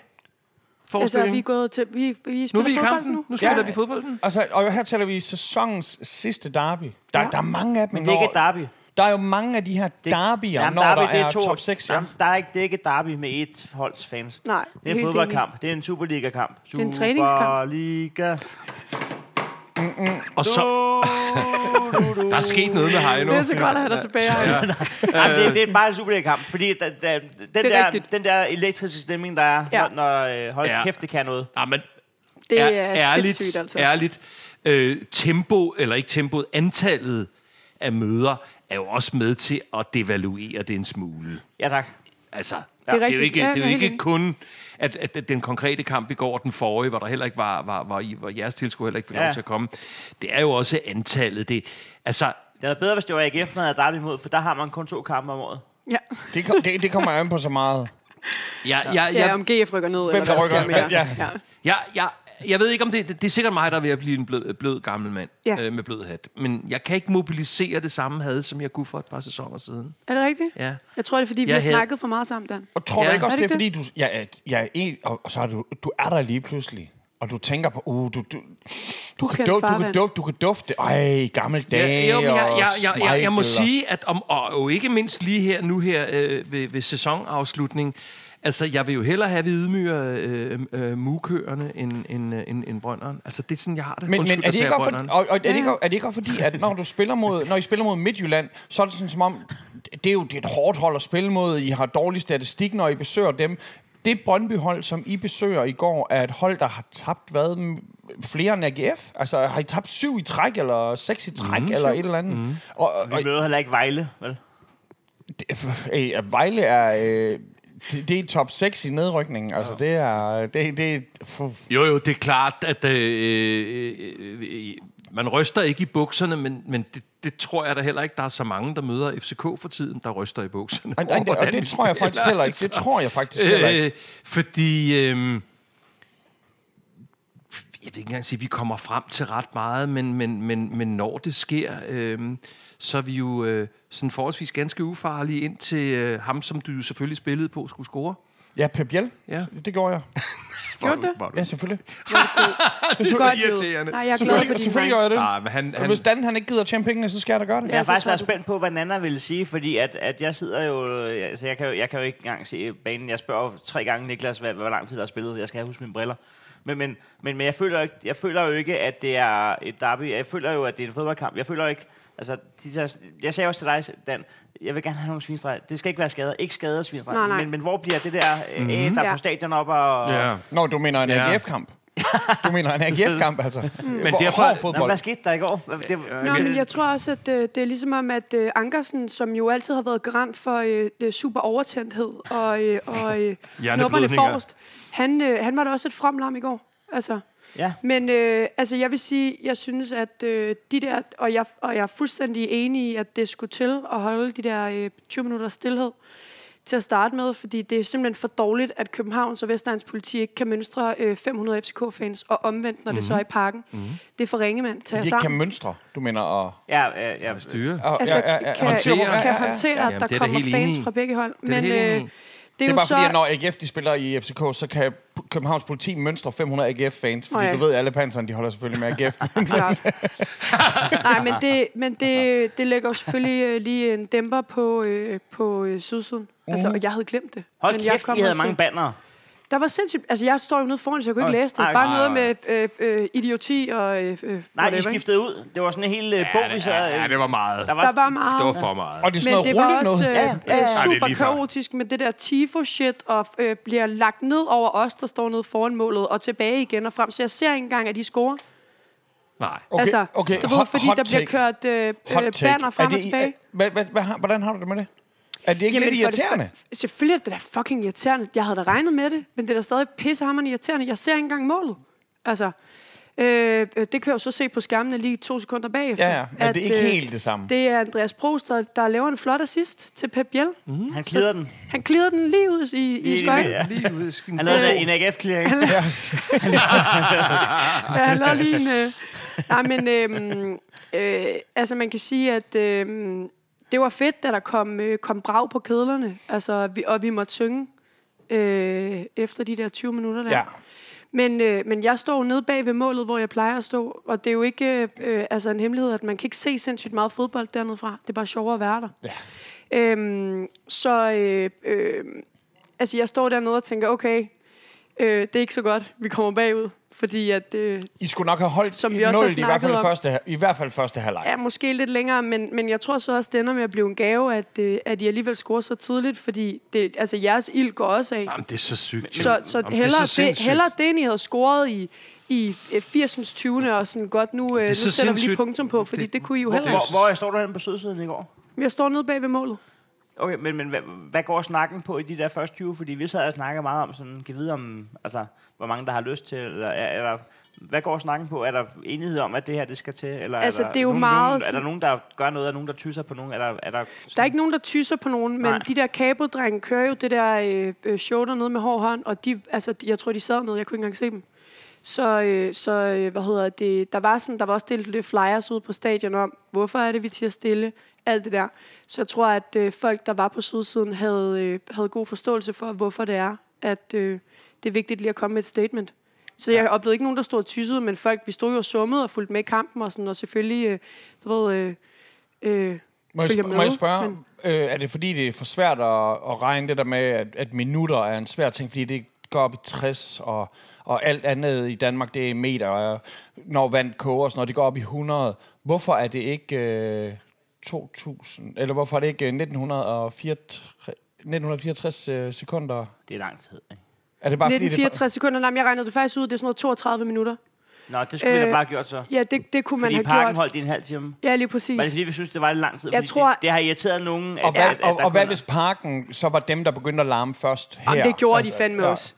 G: Altså,
F: Forestilling.
G: vi er gået til... Vi, vi
F: nu
G: spiller
F: er vi i
G: fodbold
F: kampen. Nu,
G: nu.
F: nu spiller
A: Ja.
F: ja. vi fodbolden.
A: Og, så, og her taler vi sæsonens sidste derby. Der, ja. der er mange af dem.
B: Men det er ikke et
A: når-
B: derby.
A: Der er jo mange af de her
B: Det,
A: derbyer,
B: Jamen,
A: når derby, der
B: det
A: er, er top 6. Ja.
B: Jamen, der er ikke, det er ikke et derby med et holds fans.
G: Nej,
B: Det er en
G: helt
B: fodboldkamp. Det er en Superliga-kamp.
G: er en træningskamp.
B: Superliga.
F: Og så... der er sket noget med Heino.
G: Det er så godt at have dig tilbage. Altså, Ja.
B: Jamen, det, det er bare en Superliga-kamp, fordi da, da, den, der,
G: rigtigt.
B: den der elektriske stemning, der er,
G: Ja.
B: ja. når, når øh, hold
F: Ja.
B: ja. kæft, det kan noget.
F: Ja, men
G: Det er,
F: ær-
G: ærligt, sindssygt, altså.
F: Ærligt. Øh, tempo, eller ikke tempoet, antallet af møder er jo også med til at devaluere det en smule.
B: Ja, tak.
F: Altså,
G: er
F: det er, jo
G: rigtigt.
F: ikke,
G: Ja,
F: det er jo
G: jeg er helt
F: ikke
G: enig.
F: kun, at, at, at den konkrete kamp i går, den forrige, hvor der heller ikke var, var, var, I, hvor jeres tilskuer heller ikke fik ja.
B: Ja.
F: lov til at komme. Det er jo også antallet. Det, altså,
B: Det er bedre, hvis det var AGF, når jeg derby imod, for der har man kun to kampe om året.
G: Ja.
A: Det, kom, det, det kommer an på så meget.
F: jeg, jeg, jeg,
G: ja, om GF rykker ned, eller
A: der
G: hvad der
A: rykker
G: sker med
A: ned?
G: jer.
A: Ja.
G: Ja.
F: Jeg, jeg, jeg ved ikke, om det, det er sikkert mig, der er ved at blive en blød, blød gammel mand
G: Ja.
F: ja. øh, med blød hat. Men jeg kan ikke mobilisere det samme had, som jeg kunne for et par sæsoner siden.
G: Er det rigtigt?
F: Ja.
G: Jeg tror, det er, fordi vi
F: Jeg
G: har
F: havde-
G: snakket for meget sammen, Dan.
A: Og tror ja. du
F: Ja.
A: ikke også,
G: Er
A: det er
G: det
A: fordi, du, ja, ja, ja, en, og, og så er du, du er der lige pludselig. Og du tænker på, uh, du, du, du, kan,
G: Ukendt
A: dufte, du, kan
G: farvand.
A: dufte, du kan dufte, ej, gammel dag
F: jo, men jeg, jeg, jeg, jeg, jeg må
A: og-
F: sige, at om, og jo ikke mindst lige her nu her øh, ved, ved sæsonafslutning, altså jeg vil jo hellere have ydmyre øh, øh, mugkøerne end, end, øh, end, end brønderen. Altså det er sådan, jeg har det.
A: Men,
F: Undskyld,
A: men er,
F: der
A: det ikke
F: sagde
A: også for,
F: Brønderen.
A: og, og, er, det ikke, er det ikke også fordi, at når, du spiller mod, når I spiller mod Midtjylland, så er det sådan som om, det er jo det er et hårdt hold at spille mod, I har dårlig statistik, når I besøger dem. Det Brøndby-hold, som I besøger i går, er et hold, der har tabt hvad, m- flere end AGF? Altså, har I tabt syv i træk, eller seks i træk, mm, eller et eller andet? Mm. Og, og,
B: Vi møder heller ikke Vejle, vel?
A: det- øh, Vejle er... Øh, det, det er top 6 i nedrykningen. Altså, det er... Det, det, for,
F: Jo, jo, det er klart, at øh, øh, øh, øh, man ryster ikke i bukserne, men, men det, det tror jeg da heller ikke, der er så mange, der møder FCK for tiden, der ryster i bukserne.
A: og, og, og det tror jeg faktisk heller ikke. Det tror jeg faktisk heller ikke.
F: altså? Øh, fordi, øh, jeg vil ikke engang sige, at vi kommer frem til ret meget, men, men, men, men når det sker, øh, så er vi jo øh, sådan forholdsvis ganske ufarlige ind til øh, ham, som du jo selvfølgelig spillede på, skulle score.
A: Ja, Pep Biel.
F: Ja.
A: Det gjorde jeg.
G: Gjorde det?
A: Ja, selvfølgelig.
F: Det er
G: Godt, jo.
F: irriterende.
G: Nej, jeg er glad for
A: Selvfølgelig,
G: din
A: selvfølgelig gør
G: dreng.
A: jeg det.
F: Nej, men han,
A: Og
F: han,
A: hvis Dan han ikke gider at tjene pengene, så skal jeg da gøre det.
B: Jeg
A: Ja.
B: har
G: så
B: faktisk
G: tror
B: været
G: du-
B: spændt på, hvad Nana ville sige, fordi at, at jeg sidder jo... Altså, jeg, kan jo jeg kan jo ikke engang se banen. Jeg spørger jo tre gange Niklas, hvad, hvor lang tid der er spillet. Jeg skal have huske mine briller. Men, men, men, men jeg, føler jo ikke, jeg føler jo ikke, at det er et derby. Jeg føler jo, at det er en fodboldkamp. Jeg føler jo ikke... Altså, de der, jeg sagde også til dig, Dan, jeg vil gerne have nogle svinstreger. Det skal ikke være skader. Ikke skader og svinstreger.
G: Nej, nej.
B: Men, men hvor bliver det der, mm-hmm. æ, der er
G: Ja.
B: på stadion op og...
F: ja.
A: Nå, du mener en
F: Ja.
A: AGF-kamp. Du mener en AGF-kamp,
G: Mm.
A: altså. Men
F: derfor-
A: Hård
B: Nå,
A: fodbold.
B: hvad skete der i går? Hvad- Det,
G: Nå, men jeg tror også, at øh, det er ligesom om, at øh, Ankersen, som jo altid har været garant for øh, det super overtændthed og, øh, og øh, knopperne
F: Hjerneblødninger.
G: forrest, han, øh, han var da også et fremlam i går. Altså.
B: Ja.
G: Men øh, altså, jeg vil sige, jeg synes, at øh, de der, og jeg, og jeg er fuldstændig enig i, at det skulle til at holde de der øh, 20 minutter stillhed. til at starte med, fordi det er simpelthen for dårligt, at Københavns og Vestegns politi ikke kan mønstre øh, 500 FCK-fans, og omvendt, når mm-hmm. det så er i parken. Mm-hmm. Det er for ringe, mand. Tag jer
A: De ikke kan
G: sammen.
A: mønstre, du mener, og...
B: Ja, ja, ja.
F: Styre.
A: og
G: Altså,
A: ja, ja, ja,
G: kan,
F: håndtere.
G: håndtere,
F: Ja,
G: kan
F: ja,
G: håndtere,
F: ja.
G: at
F: Jamen,
G: der
F: det er da
G: kommer
F: helt
G: fans
F: enig i.
G: fra begge hold.
F: er da
G: Men øh,
F: helt
G: det er
F: enig i.
A: Det er
G: jo
A: bare
G: så...
A: fordi, at når AGF de spiller i FCK, så kan Københavns politi mønstre 500 AGF-fans. Fordi
G: Nå ja.
A: du ved, at alle panserne, de holder selvfølgelig med AGF.
G: klart. Nej, men det, men det, det lægger jo selvfølgelig øh, lige en dæmper på, øh, på øh, sydsiden. Altså,
F: Mhm.
G: og jeg havde glemt det.
B: Hold
G: men
B: men
G: jeg
B: kæft,
G: kom
B: I havde
G: også-
B: mange bannere.
G: Der var sindssygt... Altså, jeg står jo nede foran, så jeg kunne ikke
B: Oj.
G: læse det.
B: Ej,
G: Bare
B: ej,
G: noget med øh, øh, idioti og... Øh, øh,
B: Nej, I
G: whatever, ikke?
B: skiftede ud. Det var sådan en hel øh, bog, vi så...
F: Ja, ja, det var meget.
B: Der
F: Der
B: var,
G: Der var meget...
F: det var for meget.
A: Og det er sådan noget
G: Men det var
A: rullet noget.
G: også øh,
B: Ja, ja, ja.
G: øh,
H: det er
G: super
H: lige før.
G: kaotisk med det der tifo-shit, og øh, bliver lagt ned over os, der står nede foran målet, og tilbage igen og frem. Så jeg ser ikke engang, at de scorer.
F: Nej.
A: Okay,
G: altså,
A: okay.
G: du ved,
A: Hot-
G: fordi
A: hot
G: der bliver
A: take.
G: kørt øh,
A: Hot
G: øh,
A: take.
G: banner frem
A: Er det
G: og
A: i-
G: tilbage.
A: er- hvad- hvad- hvad- Hvordan har du det med det? Er det ikke lidt
G: for det
A: irriterende?
G: f- selvfølgelig er det da fucking irriterende. Jeg havde da regnet med det, men det er da stadig pissehammerende irriterende. Jeg ser ikke engang målet. Altså, øh, øh, det kan jeg jo så se på skærmene lige to sekunder bagefter.
A: Ja, ja. Men det er ikke
G: øh,
A: helt det samme.
G: Det er Andreas Prost, der, der laver en flot assist til Pep Biel. Mm.
B: han klirrede den.
G: Han klirrede den lige ud i, i skøjten. Ja.
B: Lige ude i skøjten. Han
G: Øh,
B: lavede en AGF-clearing.
G: han lavede lige en... Øh, nej, men øhm, øh, altså, man kan sige, at øhm, det var fedt, da der kom, øh, kom brag på kedlerne, altså, vi, og vi måtte synge øh, efter de der 20 minutter der.
A: Ja.
G: Men, øh, men jeg står jo nede bag ved målet, hvor jeg plejer at stå, og det er jo ikke øh, øh, altså en hemmelighed, at man kan ikke se sindssygt meget fodbold dernede fra. Det er bare sjovere at være der. Ja. Øhm, så øh, øh, altså jeg står dernede og tænker, okay, øh, det er ikke så godt, vi kommer bagud, fordi at, øh,
A: I skulle nok have holdt
G: Som
A: Som
G: vi
A: vi
G: også har
A: nul, i hvert
G: snakket
A: fald
G: om.
A: første, i hvert fald første halvleg.
G: Ja, måske lidt længere, men, men jeg tror så også, det ender med at blive en gave, at, øh, at I alligevel scorer så tidligt, fordi det, altså, jeres ild går også af.
F: Jamen, det er så sygt.
G: så så
F: Jamen,
G: hellere,
F: det, er
G: det,
F: så
G: det,
F: sindssygt.
G: hellere det, end I havde scoret i, i øh, 80'ens 20. og sådan godt, nu, øh, nu
F: er så
G: sætter vi lige
F: sindssygt.
G: punktum på, fordi det, det kunne I jo heller
B: Hvor,
G: ikke.
B: hvor jeg står du henne på sydsiden i går?
G: Jeg står nede bag ved målet.
B: Okay, men, men hvad, hvad går snakken på i de der første 20? Fordi vi sad og snakkede meget om sådan, kan vide om, altså, hvor mange der har lyst til, eller, er, er der, hvad går snakken på? Er der enighed om, at det her, det skal til? Eller
G: Altså,
B: er der
G: det er jo
B: nogen,
G: meget
B: Nogen, er
G: sådan-
B: der nogen, der gør noget? Er der nogen, der tyser på nogen? Er der, er der,
G: Der
F: Mm.
G: er ikke nogen, der tyser på nogen, men
B: Nej.
G: Nej. de der kabodrenge kører jo det der øh, øh, show dernede med hård hånd, og de, altså, de- jeg tror, de sad nede, jeg kunne ikke engang se dem. Så, øh, så øh, hvad hedder det, der var, sådan, der var også delt lidt flyers ud på stadion om, hvorfor er det, vi tiger stille, alt det der. Så jeg tror, at øh, folk, der var på sydsiden, havde, øh, havde god forståelse for, hvorfor det er, at øh, det er vigtigt lige at komme med et statement. Så jeg oplevede ikke nogen, der stod og tyssede, men folk, vi stod jo og summede og fulgte med i kampen, og, sådan, og selvfølgelig, øh, du ved, øh, øh,
A: Må jeg,
G: følger
A: sp- må jeg
G: med,
A: spørge,
G: men-
A: øh, er det fordi, det er for svært at, at regne det der med, at, at minutter er en svær ting, fordi det går op i 60, og, og alt andet i Danmark, det er meter, og når vand koger, og sådan noget, det går op i 100. Hvorfor er det ikke øh, 2000, eller hvorfor er det ikke øh, 1964, 1964 øh, sekunder?
B: Det er lang tid, ikke?
A: Er det bare fordi, det
G: 1964 sekunder. Nej, men jeg regnede det faktisk ud. Det er sådan noget 32 minutter.
B: Nå, det skulle øh, vi da
G: Øh,
B: bare have gjort så.
G: Ja, det, det kunne man
B: Fordi
G: have
B: parken
G: gjort.
B: holdt i en halv time.
G: Ja, lige
B: Var det
G: præcis.
B: fordi, vi synes, det var lidt lang tid?
G: Jeg
B: Fordi
G: tror-
B: det, det, har irriteret nogen.
A: og, hvad, og,
B: at, der
A: og hvad
B: kun er-
A: hvis parken så var dem, der begyndte at larme først her?
G: Jamen, det gjorde de
A: Altså,
G: fandme
A: ja.
G: også.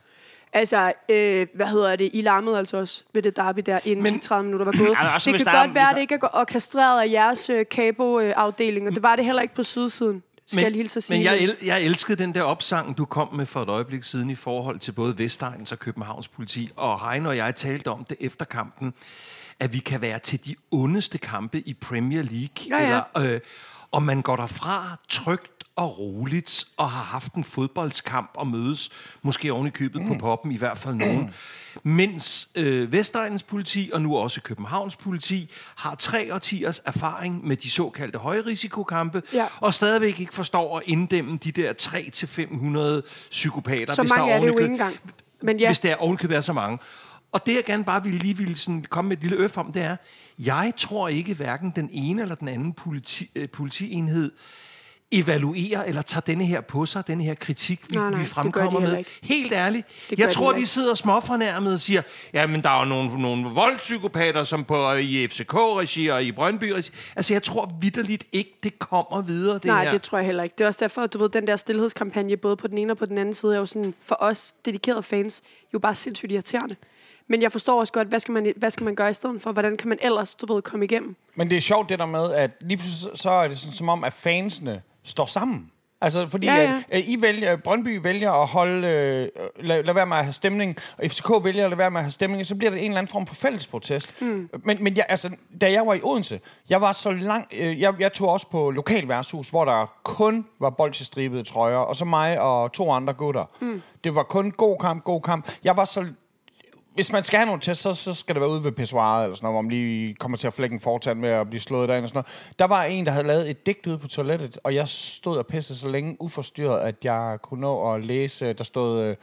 G: Altså, øh, hvad hedder det? I larmede altså også ved det derby der, inden men, de 30 minutter var gået.
B: men også,
G: det
B: hvis
G: kan
B: der er-
G: godt være,
B: hvis
G: at det ikke er go- orkestreret af jeres øh, kabo-afdeling, og det var det heller ikke på sydsiden, skal men, jeg lige hilse at sige.
F: men jeg, el- jeg elskede den der opsang, du kom med for et øjeblik siden i forhold til både Vestegnens og Københavns politi. Og Heino og jeg talte om det efter kampen, at vi kan være til de ondeste kampe i Premier League.
G: Ja, ja.
F: Eller, øh, og man går derfra trygt og roligt og har haft en fodboldskamp og mødes måske oven i købet mm. på poppen, i hvert fald nogen.
G: Mm.
F: Mens øh, Vestegnens politi og nu også Københavns politi har tre årtiers erfaring med de såkaldte højrisikokampe,
G: Ja.
F: og stadigvæk ikke forstår at inddæmme de der 3-500 psykopater.
G: Så
F: hvis der
G: mange er det jo
F: ovenikø-
G: ikke engang. Men
F: ja.
G: ja,
F: hvis der ovenkøbet er så mange. Og det, jeg gerne bare ville lige ville sådan komme med et lille øf om, det er, jeg tror ikke hverken den ene eller den anden politi, øh, politienhed evaluerer eller tager denne her på sig, denne her kritik, vi,
G: Nej, nej,
F: vi
G: det gør de
F: fremkommer
G: heller
F: med.
G: ikke.
F: Helt ærligt,
G: Det gør
F: jeg
G: de
F: tror,
G: heller
F: de
G: ikke.
F: sidder småfornærmet og siger, ja, men der er jo nogle, nogle voldspsykopater, som på i FCK-regi og i Brøndby-regi. Altså, jeg tror vidderligt ikke, det kommer videre, det
G: Nej,
F: her.
G: det tror jeg heller ikke. Det er også derfor, at du ved, den der stillhedskampagne, både på den ene og på den anden side, er jo sådan, for os dedikerede fans, jo bare sindssygt irriterende. Men jeg forstår også godt, hvad skal man, hvad skal man gøre i stedet for? Hvordan kan man ellers, du ved, komme igennem?
A: Men det er sjovt det der med, at lige pludselig så- så er det sådan, som om, at fansene står sammen. Altså, fordi
G: Ja,
A: ja,
G: ja.
A: ja. At, øh, I vælger, Brøndby vælger at holde, øh, lad, lad være med at have stemning, og FCK vælger at lade være med at have stemning, og så bliver det en eller anden form for fælles protest. Mm. Men, men jeg, altså, da jeg var i Odense, jeg var så lang, øh, jeg, jeg tog også på lokal værtshus, hvor der kun var bolsjestribede trøjer, og så mig og to andre gutter. Mm. Det var kun god kamp, god kamp. Jeg var så hvis man skal have nogle test, så, så skal det være ude ved pissoiret eller sådan noget, hvor man lige kommer til at flække en fortand med at blive slået derind og sådan noget. Der var en, der havde lavet et digt ude på toilettet, og jeg stod og pissede så længe uforstyrret, at jeg kunne nå at læse, der stod, øh,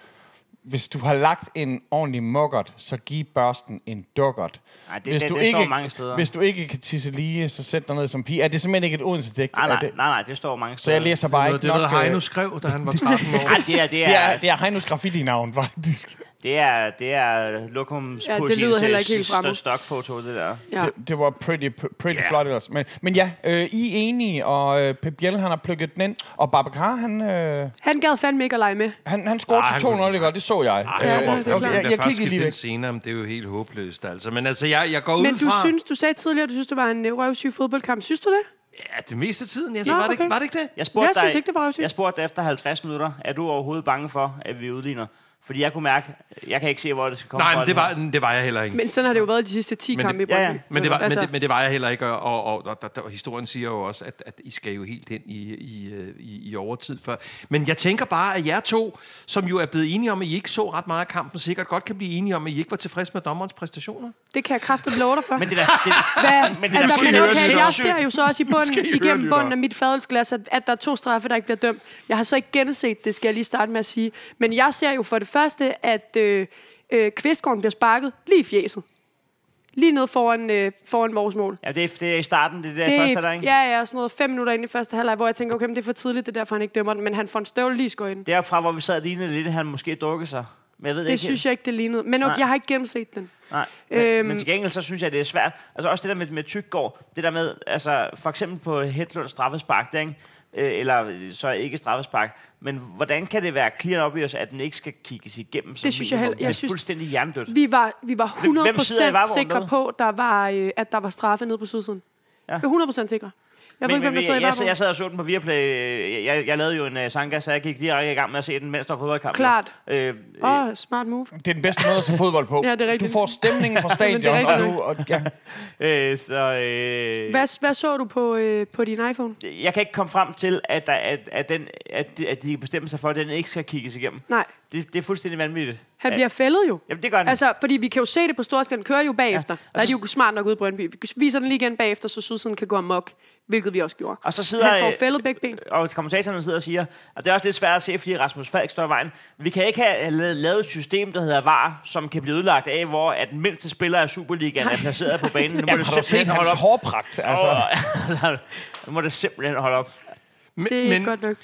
A: hvis du har lagt en ordentlig muggert, så giv børsten en dukkert.
B: Ej, det-
A: hvis
B: det-
A: du
B: det står
A: ikke,
B: mange steder.
A: Hvis du ikke kan tisse lige, så sæt dig ned som pige. Er det simpelthen ikke et Odense-digt?
B: Nej,
A: Er
B: nej,
A: det-
B: nej, nej, det står mange
A: Så
B: steder.
A: jeg læser bare
F: Noget,
A: ikke
F: det er
A: nok...
F: noget, Heino
A: øh,
F: skrev, da han var 13 år.
B: Ej, det er, det
A: det er,
B: er,
A: det er Heinos graffiti-navn, faktisk.
B: det er, det er Lokums
G: Ja, det
B: politiets,
G: lyder heller
B: øh,
G: ikke helt
B: st-
G: fremmed.
B: stokfoto, det der.
G: Ja.
A: Det, det var pretty, pretty yeah. flot ellers. Men, men ja, øh, I er enige, og øh, Pep Biel, han har plukket den ind. Og Babacar, han, øh,
G: Han gad fandme ikke at lege med.
A: han, han scorede
F: Ej,
A: til
F: Ah, han Ah,
A: 2-0, ikke? Og det så jeg.
F: Ej,
A: Øh,
G: ja,
F: jeg,
G: det er
F: jeg, jeg,
G: klart.
F: jeg, jeg
A: kiggede
F: kiggede
A: lige
F: lige
A: væk.
F: senere, men det er jo helt håbløst, altså. Men altså, jeg, jeg går
G: Men
F: ud
G: du
F: fra...
G: synes, du sagde tidligere, at du synes, det var en øh, røvsyg fodboldkamp. Synes du det?
F: Ja, det meste af tiden, jeg
G: Nå,
F: var, det, ikke-
G: okay.
F: var det ikke det?
B: Jeg spurgte
G: Jeg synes
B: dig,
G: ikke, det var røvsygt.
B: Jeg spurgte dig efter 50 minutter, er du overhovedet bange for, at vi udligner? Fordi jeg kunne mærke, jeg kan ikke se, hvor det skal komme
F: Nej,
B: fra.
F: men det
B: her.
F: var, det var jeg heller ikke.
G: Men sådan har det jo været de sidste 10
F: Men det-
G: kampe i
B: ja, ja.
G: Brøndby. Altså,
F: Men det, var, men, det, men det var jeg heller ikke, og, og, og, og, og, og historien siger jo også, at, at I skal jo helt ind i, i, øh, i, i overtid før. Men jeg tænker bare, at jer to, som jo er blevet enige om, at I ikke så ret meget af kampen, sikkert godt kan blive enige om, at I ikke var tilfredse med dommerens præstationer.
G: det kan jeg kraftigt love dig for.
B: Men det der, det,
G: Hvad?
B: Men
G: Men
B: det er
G: altså,
B: da
G: men
B: skide
G: okay,
B: ødelæggende.
G: jeg ser jo så også i bunden,
H: Skide
G: igennem
H: ødelæggende.
G: bunden af mit fadelsglas, at, at der er to straffe, der ikke bliver dømt. Jeg har så ikke genset det, skal jeg lige starte med at sige. Men jeg ser jo for det første, at øh, øh, Kvistgården bliver sparket lige i fjeset. Lige ned foran, øh, foran vores mål.
B: ja, det, er, det er i starten, det er der
G: Det
B: det,
G: er,
B: første, der, ikke?
G: ja, ja, sådan noget fem minutter ind i første halvleg, hvor jeg tænker, okay, men det er for tidligt, det er derfor, han ikke dømmer den, men han får en støvle lige skå ind. Det,
B: Derfra, hvor vi sad og lignede lidt, at han måske dukkede sig. Men jeg ved
G: det
B: ikke
G: synes jeg ikke, det lignede. Men okay,
B: Nej.
G: jeg har ikke gennemset den.
B: Nej, men, øhm.
G: Øhm.
B: men til gengæld, så synes jeg, det er svært. Altså også det der med, med Tyggård, det der med, altså for eksempel på Hedlunds straffespark, der, ikke? Øh, eller så ikke straffespark, men hvordan kan det være clear op i os, at den ikke skal kigges igennem? Som
G: Det synes jeg
B: minimum?
G: heller- jeg
B: Det er
G: synes-
B: fuldstændig hjernedødt.
G: Vi var, vi var 100%
B: hvem sidder i varevognen
G: sikre
B: med?
G: på, der var, øh, at der var straffe nede på sydsiden.
B: Ja.
G: Ja. 100% sikre. Jeg ved
B: Men,
G: ikke, hvem
B: men,
G: der
B: jeg,
G: sidder i
B: jeg, sad- jeg
G: varevognen.
B: sad og så den på Viaplay. Øh, Jeg, jeg lavede jo en uh, sanga, så jeg gik direkte i gang med at se den, mens der var fodboldkamp.
G: Klart.
B: Øh, øh,
G: Åh, oh, smart move.
A: Det er den bedste måde at se fodbold på.
G: Ja, det er rigtigt.
A: Du får stemningen fra
G: Jamen, det er
A: stadion, og,
G: rigtigt
A: du, og ja,
B: øh, så, øh,
G: Hvad, hvad så du på, øh, på din iPhone?
B: jeg kan ikke komme frem til, at, der, at, at, den, at, de- at de bestemmer sig for, at den ikke skal kigges igennem.
G: Nej,
B: Det, det er fuldstændig vanvittigt.
G: han
B: Ja.
G: bliver fældet jo.
B: Jamen, det gør den. Altså,
G: Altså, fordi vi kan jo se det på Storskland, den kører jo bagefter. Ja. Der er de jo smart nok ude i Brøndby. Vi viser den lige igen bagefter, så sydsiden kan gå amok, hvilket vi også gjorde.
B: og så sidder
G: Han får
B: øh,
G: fældet begge ben.
B: og kommentatorerne sidder og siger, at det er også lidt svært at se, fordi Rasmus Falk står i vejen. Vi kan ikke have la- lavet et system, der hedder VAR, som kan blive ødelagt af, hvor at den mindste spiller af Superligaen er placeret på banen. Nu må det
A: har du set
B: simpelthen holde
A: hans
B: op.
A: hårpragt? Altså,
B: Og- altså, nu må det simpelthen holde op.
F: Men,
G: Det er men, godt nok.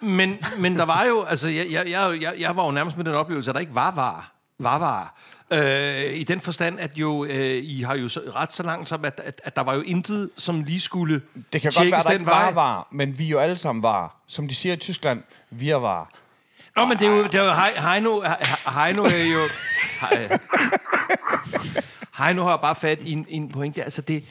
F: Men, men der var jo, altså, jeg, jeg, jeg, jeg, jeg var jo nærmest med den oplevelse, at der ikke var var. var, var. Øh, I den forstand, at jo, øh, I har jo så, ret så langt som, at, at, at der var jo intet, som lige skulle
A: det kan godt
F: tjekkes
A: være, der
F: den
A: ikke
F: vej.
A: var, var, men vi er jo alle sammen var. Som de siger i Tyskland, vi er var.
F: Nå, men det er jo, det er jo Hei- Heino, He- Heino er jo... Hei- Heino har jo bare fat i en, en pointe. Altså det,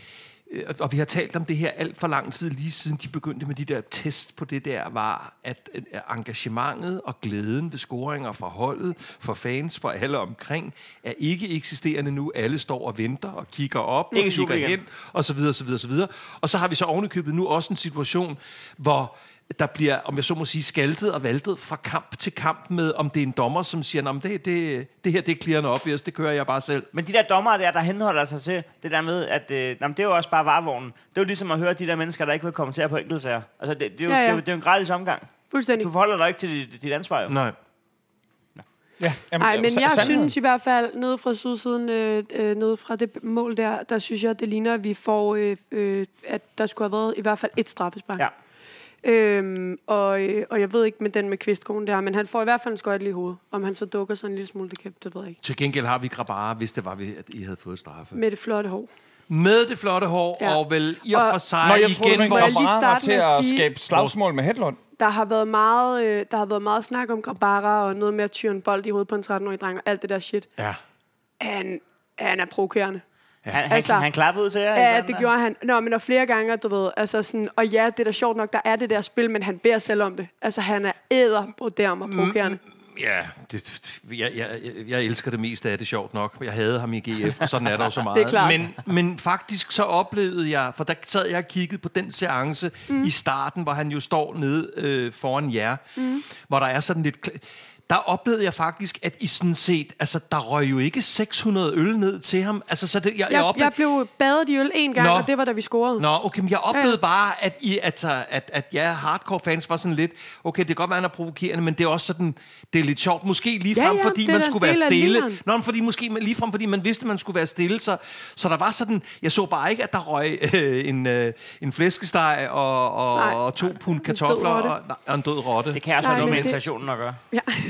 F: øh, og vi har talt om det her alt for lang tid, lige siden de begyndte med de der test på det der, var at øh, engagementet og glæden ved scoringer fra holdet, for fans, for alle omkring, er ikke eksisterende nu. Alle står og venter og kigger op og
B: Ikke i
F: kigger
B: Superligaen.
F: hen, og så videre, så videre, så videre. Og så har vi så ovenikøbet nu også en situation, hvor der bliver, om jeg så må sige, skaltet og valtet fra kamp til kamp med, om det er en dommer, som siger, at det, det, det her, det er clearende obvious, det kører jeg bare selv.
B: Men de der dommere der, der henholder sig til det der med, at øh, jamen, det er jo også bare varevognen. Det er jo ligesom at høre de der mennesker, der ikke vil kommentere på enkeltsager. Altså, det, det, er jo,
G: Ja,
B: ja,
G: ja.
B: ja. Det, er jo, det er jo en gratis omgang.
G: Fuldstændig.
B: Du forholder dig ikke til dit, dit ansvar, jo.
F: Nej.
A: Ja, jamen,
G: Nej, men
A: sa-
G: jeg
A: sandheden.
G: synes i hvert fald, nede fra sydsiden, øh, øh, nede fra det mål der, der synes jeg, det ligner, at vi får, øh, øh, at der skulle have været i hvert fald et straffespark.
B: Ja.
G: Øhm, og, øh, og jeg ved ikke med den med kvistkonen der, men han får i hvert fald en skøjt lige i hovedet. Om han så dukker sig en lille smule, det, kan, det ved jeg ikke.
F: Til gengæld har vi Grabara, hvis det var, vi- at I havde fået straffe.
G: Med det flotte hår.
F: Med det flotte hår, ja.
G: Mm. Ja.
F: og vel i og
G: Og-
F: for sig
A: Nå, jeg troede,
F: igen,
A: man
G: må
F: hvor
G: jeg lige
A: var bare
G: starte
A: til
G: med
A: at
G: at sige-
A: skabe slagsmål med Hedlund.
G: Der har været meget, øh, der har været meget snak om Grabara og noget med at tyre en bold i hovedet på en 13-årig dreng og alt det der shit.
F: Ja.
G: Han, han er provokerende.
B: Han,
G: Altså-
B: han, han klappede ud til jer?
G: Ja, det gjorde han. Nå, men og flere gange, du ved, altså sådan, og ja, det er da sjovt nok, der er det der spil, men han beder selv om det. Altså, han er æder på derm og provokerende.
F: Ja, det, jeg, jeg, jeg- jeg elsker det mest af det, sjovt nok. Jeg havde ham i GF, og sådan er der jo så meget.
G: Det er klart.
F: Men, men faktisk så oplevede jeg, for der sad jeg og kiggede på den seance mm. i starten, hvor han jo står nede øh, foran jer, mm. hvor der er sådan lidt... kl- Der oplevede jeg faktisk, at I sådan set... Altså, der røg jo ikke 600 øl ned til ham. Altså, så det, jeg, jeg,
G: Jeg,
F: oplevede,
G: jeg blev badet i øl en gang,
F: Nå.
G: og det var, da vi scorede.
F: Nå, okay, men jeg oplevede
G: Ja.
F: ja. bare, at, I, altså, at, at ja, hardcore fans var sådan lidt, okay, det kan godt være, han er provokerende, men det er også sådan, det er lidt sjovt. Måske ligefrem,
G: Ja,
F: ja,
G: ja,
F: ja, fordi
G: det er
F: man
G: da en
F: skulle være
G: del af
F: stille.
G: liveren.
F: Nå, men fordi, måske man- ligefrem, fordi man vidste, man skulle være stille. Så, så der var sådan, jeg så bare ikke, at der røg øh, en, øh, en flæskesteg og, og,
G: Nej.
F: og to pund kartofler
G: rotte.
F: og, nej, og en død rotte.
B: Det kan også
G: Nej,
B: være noget
G: men
B: med
G: det-
B: inflationen at gøre.
G: Ja.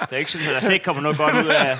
B: Det er ikke sådan, at der slet ikke kommer noget godt ud af...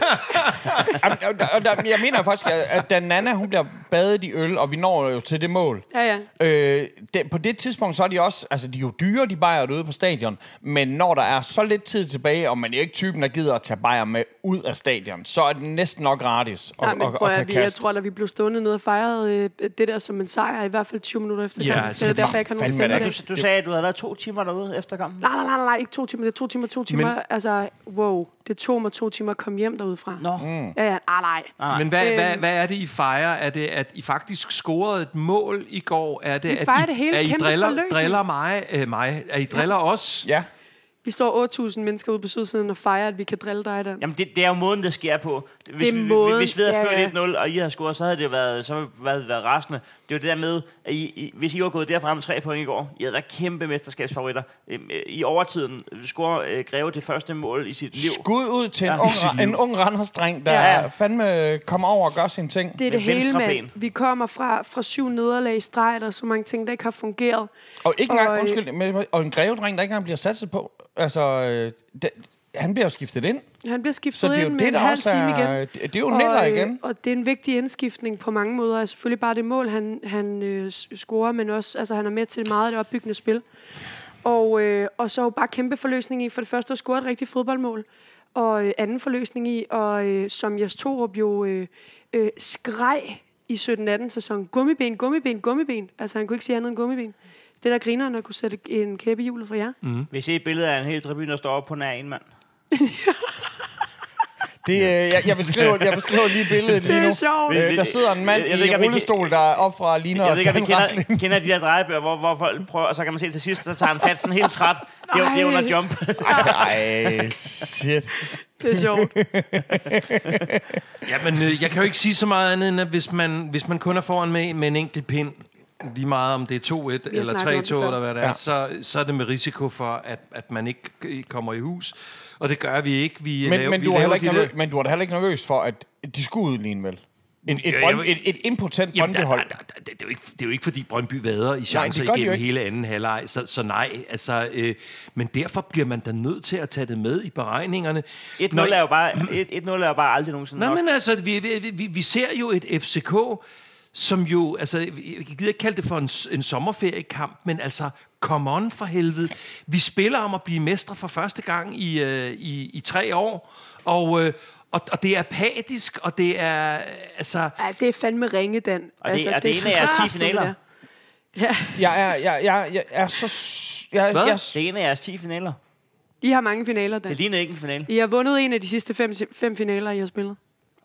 A: Jamen, og der, og der, jeg mener faktisk, at, at da Nana hun bliver badet i øl, og vi når jo til det mål,
G: Ja, ja.
A: Øh, det, på det tidspunkt, så er de også, altså de er jo dyre, de bajer ude på stadion, men når der er så lidt tid tilbage, og man er jo ikke typen, der gider at tage bajer med ud af stadion, så er det næsten nok gratis at,
G: Nej, men prøv at,
A: kan
G: vi, jeg
A: kaste.
G: tror, at vi blev stående ned og fejrede øh, det der som en sejr, i hvert fald 20 minutter efter
F: Ja,
G: kampen.
F: altså,
G: det er
F: det
G: derfor, jeg ikke har nogen
A: fandme
G: stemme i
A: da-
G: dag.
B: Du, du sagde, at du havde været to timer derude efter kampen.
G: Nej, nej, nej, nej, ikke to timer. Det er to timer, to timer. Men, altså, wow. Det tog mig to timer at komme hjem derudefra.
B: Nå. Mm.
G: Ja, ja, nej, nej.
F: Men hvad,
G: Øhm.
F: hvad, hvad er det, I fejrer? Er det, at I faktisk scorede et mål i går? Er det, at
G: fejrer
F: I,
G: det hele.
F: er I
G: Kæmpe
F: driller,
G: forløsning.
F: driller mig, øh, mig? Er I driller os?
A: Ja,
G: Vi står 8.000 mennesker ude på sydsiden og fejrer, at vi kan drille dig der.
B: Jamen, det, det er jo måden, det sker på. Hvis,
G: Det er
B: vi-
G: måden,
B: hvis vi havde
G: ja,
B: ført
G: ja.
B: 1-0, og I havde scoret, så havde det jo været, så havde det været, været rasende. Det er jo det der med, at I, I, hvis I var gået derfra med tre point i går, I havde været kæmpe mesterskabsfavoritter. Øhm, øh, I overtiden scorer øh, Greve det første mål i sit liv.
A: skud ud til en,
B: Ja.
A: ung,
B: I sit
A: ra- en ung Randers-dreng, der
B: Ja.
A: ja. fandme øh, kommer over og gør sine ting.
G: Det er
B: Med
G: det hele,
B: venstre
G: mand.
B: ben.
G: Vi kommer fra, fra syv nederlag i streg, der er så mange ting, der ikke har fungeret.
A: Og ikke engang,
G: Og, øh,
A: undskyld, men, og en grevedreng, der ikke engang bliver satset på, altså, øh, det, han bliver jo skiftet ind,
G: Han bliver
A: så
G: skiftet
A: det er
G: ind
A: jo
G: med
A: det,
G: en
A: der
G: halv
A: også
G: time igen.
A: er, det, det er jo Neller
G: og, øh,
A: igen.
G: og det er en vigtig indskiftning på mange måder. Altså, selvfølgelig bare det mål, han, han øh, s- scorer, men også, altså, han er med til meget af det opbyggende spil. Og, øh, og så jo bare kæmpe forløsning i, for det første at score et rigtigt fodboldmål, og øh, anden forløsning i, og øh, som Jes Torup jo øh, øh, skreg i 17-18 sæsonen, gummiben, gummiben, gummiben. Altså, han kunne ikke sige andet end gummiben. Det der griner, når kunne sætte en kæppe i hjulet for jer.
B: Hvis I ser et billede af en hel tribune, der står op på nær en mand.
A: Det, øh, jeg, jeg, beskriver, jeg beskriver lige billedet lige nu.
G: Det er sjovt.
A: Øh, der sidder en mand
B: Jeg-
A: jeg, jeg
B: jeg ved
A: i
B: ikke,
A: en
B: om I
A: rullestol, der er op fra ligner
B: Jeg ved ikke, om I
A: Dan Ratling.
B: kender, kender de der drejebøger, hvor, hvor folk prøver, og så kan man se til sidst, så tager han fat sådan helt træt. Det er, jo- det er
G: Nej.
B: under jump.
A: Ej, shit.
G: Det er sjovt.
F: Jamen, øh, jeg kan jo ikke sige så meget andet, end at hvis man, hvis man kun er foran med, med en enkelt pind, lige meget om det er 2-1 eller
G: snakket
F: 3-2
G: om det før.
F: eller hvad det er,
A: Ja.
F: ja. så, så er det med risiko for, at, at man ikke k- kommer i hus. Og det gør vi ikke. Vi øh,
A: Men,
F: laver,
A: men,
F: vi
A: du var
F: laver
A: heller
F: de
A: ikke
F: der-
A: nervøs, men du var da heller ikke nervøs for, at de skulle udligne vel? Et, et,
F: Ja,
A: brønd,
F: jeg-
A: et, et impotent
F: Jamen, der, der,
A: brøndehold.
F: der, der, det, er jo ikke, det er jo ikke, fordi Brøndby vader i chancer
A: gør de jo
F: igennem
A: ikke.
F: hele anden halvleg, så, så nej. Altså, øh, men derfor bliver man da nødt til at tage det med i beregningerne.
B: 1-0
F: Når I-
B: er jo bare, 1-0 er jo bare aldrig nogensinde
F: Nå,
B: nok.
F: men altså, vi, vi, vi, vi ser jo et FCK, som jo, altså, jeg gider ikke kalde det for en, s- en sommerferiekamp, men altså, come on for helvede. Vi spiller om at blive mestre for første gang i, øh, i, i tre år, og, øh, og, og det er apatisk, og det er, altså,
G: Ej, det er fandme ringe, Dan. Altså,
B: Og det- og det er en af jeres 10
G: kraftigt,
B: finaler.
G: det der. Ja,
A: Jeg er, jeg, jeg, jeg er så... s- Jeg,
F: Hvad?
A: jeg,
B: Det ene af jeres 10 finaler.
G: I har mange finaler, Dan.
B: Det ligner ikke en finale.
G: I har vundet en af de sidste fem, fem finaler, I har spillet.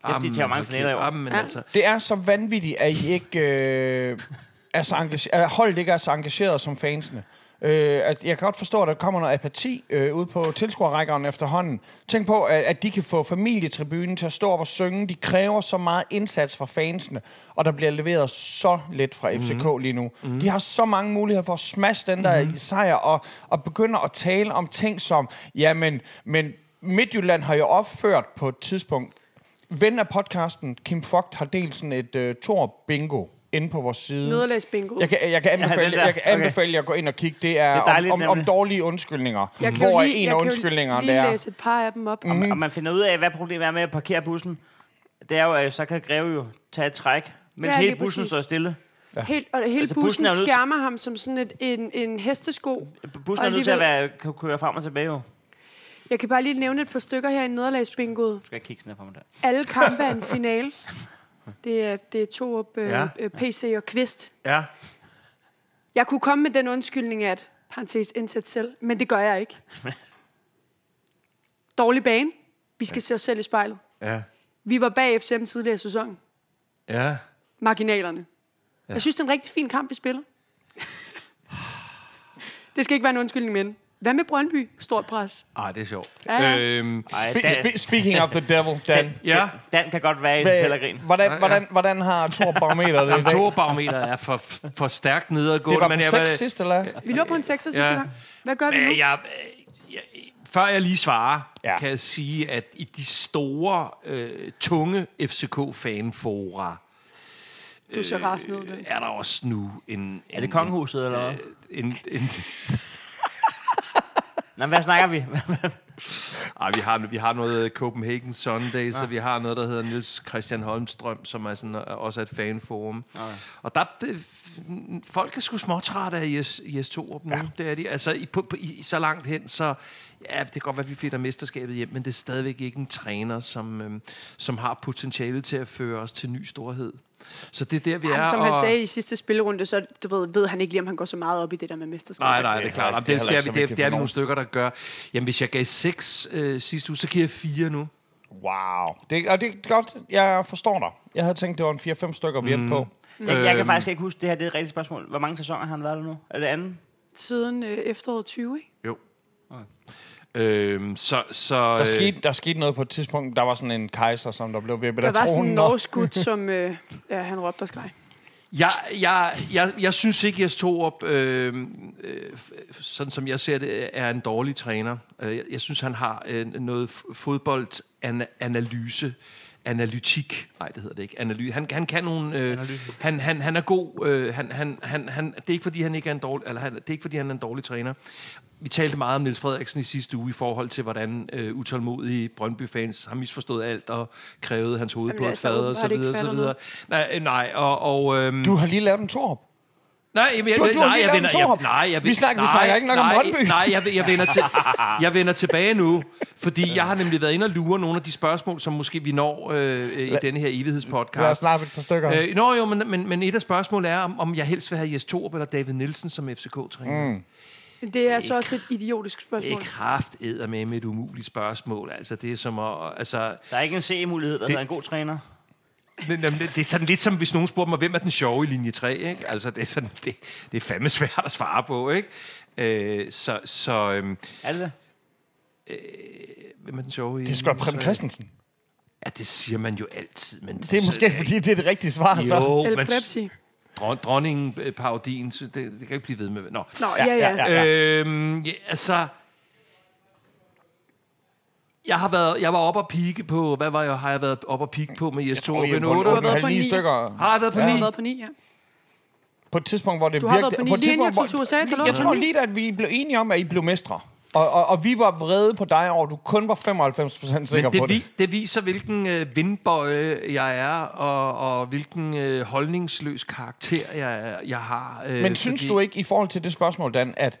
B: Mm. Efter de tager mange
F: okay,
B: finaler i år.
F: jamen,
G: Ja.
F: altså,
A: det er så vanvittigt, at I ikke... Øh, er så engage- at holdet ikke er så engageret som fansene. Øh, at jeg kan godt forstå, at der kommer noget apati øh, ud på tilskuerrækkerne efterhånden. Tænk på, at, at de kan få familietribunen til at stå op og synge. De kræver så meget indsats fra fansene, og der bliver leveret så lidt fra FCK lige nu. De har så mange muligheder for at smash den der sejr, og, og begynder at tale om ting som, jamen, men Midtjylland har jo opført på et tidspunkt Ven af podcasten, Kim Fogt, har delt sådan et øh, Thor bingo inde på vores side.
G: Nederlagsbingo.
A: Jeg kan, jeg kan
B: Ja, den
A: anbefale,
B: der.
A: jeg kan
B: Okay.
A: anbefale jer at gå ind og kigge. Det er,
B: Det er dejligt,
A: om, om, om
B: nemlig.
A: dårlige undskyldninger.
G: jeg
A: Hvor er
G: lige-
A: en
G: jeg
A: af
G: kan jo
A: undskyldningerne
G: lige
A: der er?
G: læse et par af dem op. Mm.
B: Og man finder ud af, hvad problemet er med at parkere bussen. Det er jo, at så kan Greve jo tage et træk, mens
G: Ja,
B: ja,
G: lige
B: hele bussen
G: præcis.
B: står stille.
G: Helt, og hele
B: Altså,
G: altså,
B: bussen
G: bussen,
B: er jo nødt-
G: skærmer ham som sådan et, en, en hestesko.
B: Bussen
G: Og
B: er nødt til at
G: alligevel-
B: være, kan køre frem og tilbage jo.
G: Jeg kan bare lige nævne et par stykker her i nederlagsbingoet.
B: Skal jeg kigge sådan her på mig der?
G: Alle kampe er en finale. Det er, det er to op, øh,
H: Ja.
G: ja. PC og Kvist.
H: Ja.
G: Jeg kunne komme med den undskyldning, at parentes indsæt selv, men det gør jeg ikke. Dårlig bane. Vi skal ja. se os selv i spejlet.
H: Ja.
G: Vi var bag FCM tidligere i sæsonen.
H: Ja.
G: Marginalerne. Ja. Jeg synes, det er en rigtig fin kamp, vi spiller. det skal ikke være en undskyldning, men hvad med Brøndby? Stort pres.
F: Ej, det er sjovt.
G: Ja, ja.
F: Øhm,
B: Ej,
A: Spe-
B: Dan,
A: spe- speaking of the devil, Dan.
F: ja,
B: Dan kan godt være i
A: Hvad-
B: en sellergrin.
A: Hvordan, hvordan, hvordan har Thor Barometer det i dag?
F: kontorbarometeret er for, for stærkt nedadgående.
A: Det var
F: men
A: på
F: jeg,
A: seks sidst, eller? hvad?
G: Vi lå på en sekser sidste
F: Ja.
G: gang. Hvad gør vi nu?
B: Mm-hmm.
F: Øh, jeg, øh, jeg, før jeg lige svarer,
A: Ja.
F: ja. kan jeg sige, at i de store, øh, tunge FCK-fanfora,
G: Du ser rasende ud. Dan.
F: er der også nu en...
B: Er det kongehuset, eller hvad?
F: En, en, en,
B: Nej, hvad snakker vi?
F: ej, Ah, vi har, vi har noget øh, Copenhagen Sundays,
A: Ah.
F: og vi har noget, der hedder Niels Christian Holmstrøm, som er sådan, øh, også er et fanforum.
A: Ah,
F: Og der, det, folk er sgu småtrætte af IS, IS2 op nu, ja. det er de. Altså, i, på, på, i, så langt hen, så... Ja, det kan godt være, at vi finder mesterskabet hjem, men det er stadigvæk ikke en træner, som, øhm, som har potentiale til at føre os til ny storhed. Så det er der, vi er.
G: Ja, som han
F: og-
G: sagde i sidste spillerunde, så du ved, ved han ikke lige, om han går så meget op i det der med mesterskab.
F: Nej, nej, det er klart.
A: det er
F: Jamen, Det, det,
A: heller
F: det,
A: ikke så
F: er, vi- det, er,
A: vigtigt
F: det er
A: for
F: vi
A: nogen.
F: nogle stykker, der gør. Jamen, hvis jeg gav 6 øh, sidste uge, så giver jeg 4 nu.
A: Wow. Det, og det er godt, jeg forstår dig. Jeg havde tænkt, det var en 4-5 stykker, vi endte
F: Mm,
A: på.
B: Jeg,
F: Øhm.
B: jeg kan faktisk ikke huske, det her det er et rigtigt spørgsmål. Hvor mange sæsoner har han været der nu? Er det anden?
G: Siden øh, efteråret 20, ikke?
F: Jo. Øhm, så, så,
A: Der, skete, der skete noget på et tidspunkt, der var sådan en kejser, som der blev vippet
G: Der
A: af
G: var sådan
A: tronen.
G: en
A: og-
G: norsk gut, som øh, ja, han råbte og skreg.
F: jeg, jeg, jeg, jeg synes ikke, at Torup, øh, øh, f- sådan som jeg ser det, er en dårlig træner. Øh, Jeg, jeg synes, han har øh, noget f- fodboldanalyse, analytik. Nej, det hedder det ikke. Analy han, han kan nogle... Øh, han, han, han er god. Øh, han, han, han, han, det er ikke, fordi han ikke er en dårlig... Eller han, det er ikke, fordi han er en dårlig træner. Vi talte meget om Niels Frederiksen i sidste uge i forhold til, hvordan øh, utålmodige Brøndby-fans har misforstået alt og krævede hans hoved
G: Jamen,
F: på et
G: altså,
F: fad og så
G: åbenbart ikke
F: videre. og Så
G: fatter
F: videre. Nej, øh, nej, og... og øhm,
A: Du har lige lavet en Thor.
F: Nej, jamen, jeg,
A: Du- du har
F: nej,
A: lige
F: jeg
A: lavet en
F: vender, jeg,
A: Torup.
F: nej, jeg,
A: Vi snakker- vi
F: nej,
A: snakker ikke nok om
F: nej,
A: Brøndby.
F: Nej, jeg, jeg, vender til, jeg vender tilbage nu, fordi jeg har nemlig været inde og lure nogle af de spørgsmål, som måske vi når øh, øh, i denne her
A: Jeg har
F: evighedspodcast.
A: snappet et par stykker. Øh,
F: Øh, nå jo, men, men, men et af spørgsmålene er, om, om jeg helst vil have Jes Torp eller David Nielsen som FCK-træner. Mm.
G: Det er så også et idiotisk
F: Det er
G: spørgsmål.
F: kraftedder med med et umuligt spørgsmål. Altså, det er som at... Altså,
B: Der er ikke en C-mulighed, der hedder en god træner.
F: Men, jamen, Det det er sådan lidt som, hvis nogen spurgte mig, hvem er den sjove i linje 3, ikke? Altså, det er, sådan, det, det er fandme svært at svare på, ikke? Øh, så, så øhm,
B: Er det det?
F: Øh, hvem er den sjove i
A: det er sgu da Preben
F: linje tre?
A: Christensen.
F: Ja, det siger man jo altid, men...
A: Det er måske, fordi det er det rigtige svar, så.
F: Jo,
G: El
F: men
G: Plepsi.
F: dron, dronningen, øh, parodien, så det, det kan ikke blive ved med... Nå.
G: Nå, ja, ja.
A: ja.
G: ja.
F: Øhm, ja, altså... Jeg har været, jeg var oppe og pike på, hvad var jeg, har jeg været oppe og pike på med Jes
A: Jeg tror,
F: Torp?
A: I er
F: En
A: på en
F: otte?
G: Du har
A: otte og
G: været
A: halv,
G: på en
A: ni
G: ni.
A: stykker.
F: Har jeg været på
G: Du
F: ni?
G: har været på ni, ja.
A: På et tidspunkt, hvor det
G: Du har været på
A: virkelig-
G: ni.
A: et
G: Lige inden
A: tidspunkt,
G: jeg
A: hvor-
G: tog til USA, der lå
A: Jeg
G: du på
A: tror
G: ni.
A: lige, at vi blev enige om, at I blev mestre. Og, og, og vi var vrede på dig over, at du kun var 95% sikker
F: Men det,
A: på det.
F: vi, det viser, hvilken øh, vindbøje jeg er, og, og hvilken øh, holdningsløs karakter jeg, jeg har. Øh,
A: Men synes du ikke, i forhold til det spørgsmål, Dan, at,